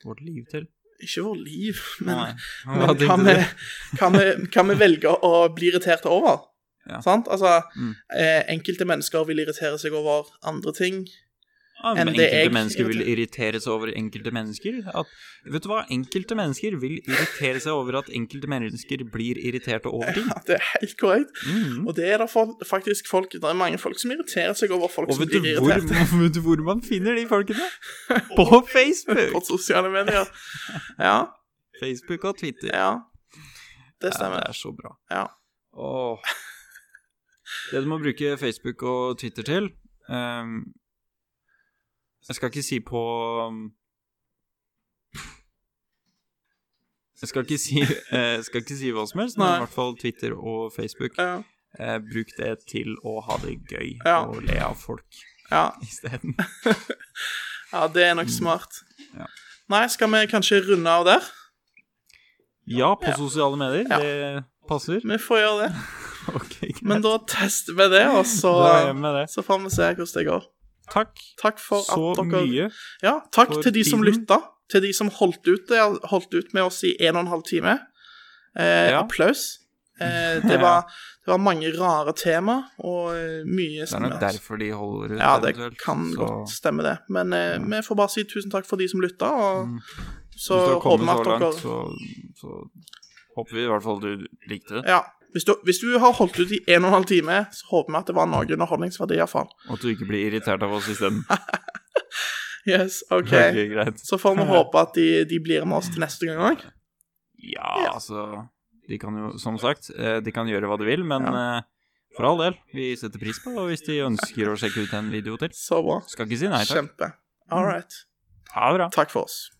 Vårt liv til. Ikke vårt liv, [laughs] men, Nei. men hva, tenkte vi, du? hva, vi, hva vi velger å bli irritert over. Ja. Sant? Altså, Mm. eh, enkelte mennesker vil irritere seg over andre ting. [laughs] Ja, enn men det jeg enkelte mennesker vil irriterer. irritere seg over enkelte mennesker. At, vet du hva? Enkelte mennesker vil irritere seg over at enkelte mennesker blir irriterte over ting. Ja, det er helt korrekt. Mm. Og det er det for, faktisk folk Det er mange folk som irriterer seg over folk Og som vet du, blir hvor, irritert [laughs] vet du hvor man finner de [laughs] folkene? På på Facebook! sosiale medier. Ja, Facebook og Twitter. ja. Det Ja, stemmer. det er så bra. Ja. Åh. Det du må bruke Facebook og Twitter til ehm, Jeg skal ikke si på Jeg skal ikke si, eh, skal ikke si hva som helst, men Nei. i hvert fall Twitter og Facebook. Ja, Eh, bruk det til å ha det gøy Ja. og le av folk ja. isteden. ja det er nok smart. Mm. Ja. Nei, skal vi kanskje runde av der? Ja, på sosiale medier. Ja. Det passer. Vi får gjøre det. Ok, greit. Men da tester vi det, og så, Da er jeg med det. så får vi se hvordan det går. Takk Takk for så at dere mye. Ja, takk for til de som tiden. lytta. Til de som holdt ut, det- holdt ut med oss i en og en halv time. Eh, Ja. Applaus. [laughs] Eh, Ja. det, var, det var mange rare tema, og eh, mye Det er nok derfor de holder ut. Ja, det eventuelt, kan så- godt stemme, det. Men eh, vi får bare si tusen takk for de som lytta, og Mm. så Hvis du har håper vi kommet at så dere langt, så, så håper vi i hvert fall du likte det. Ja. Hvis du, hvis du har holdt ut i en og en halv time, så håper vi at det var noe underholdningsverdi, iallfall. Og at du ikke blir irritert av oss isteden. [laughs] Yes, OK. Ok, greit. Så [laughs] får vi håpe at de, de blir med oss til neste gang òg. Ja, Ja. altså De kan jo, som sagt, eh, de kan gjøre hva de vil, men Ja. eh, for all del, vi setter pris på det hvis de ønsker å sjekke ut en video til. Så bra. Skal ikke si nei takk. Kjempe. All right. Ha det bra. Takk for oss.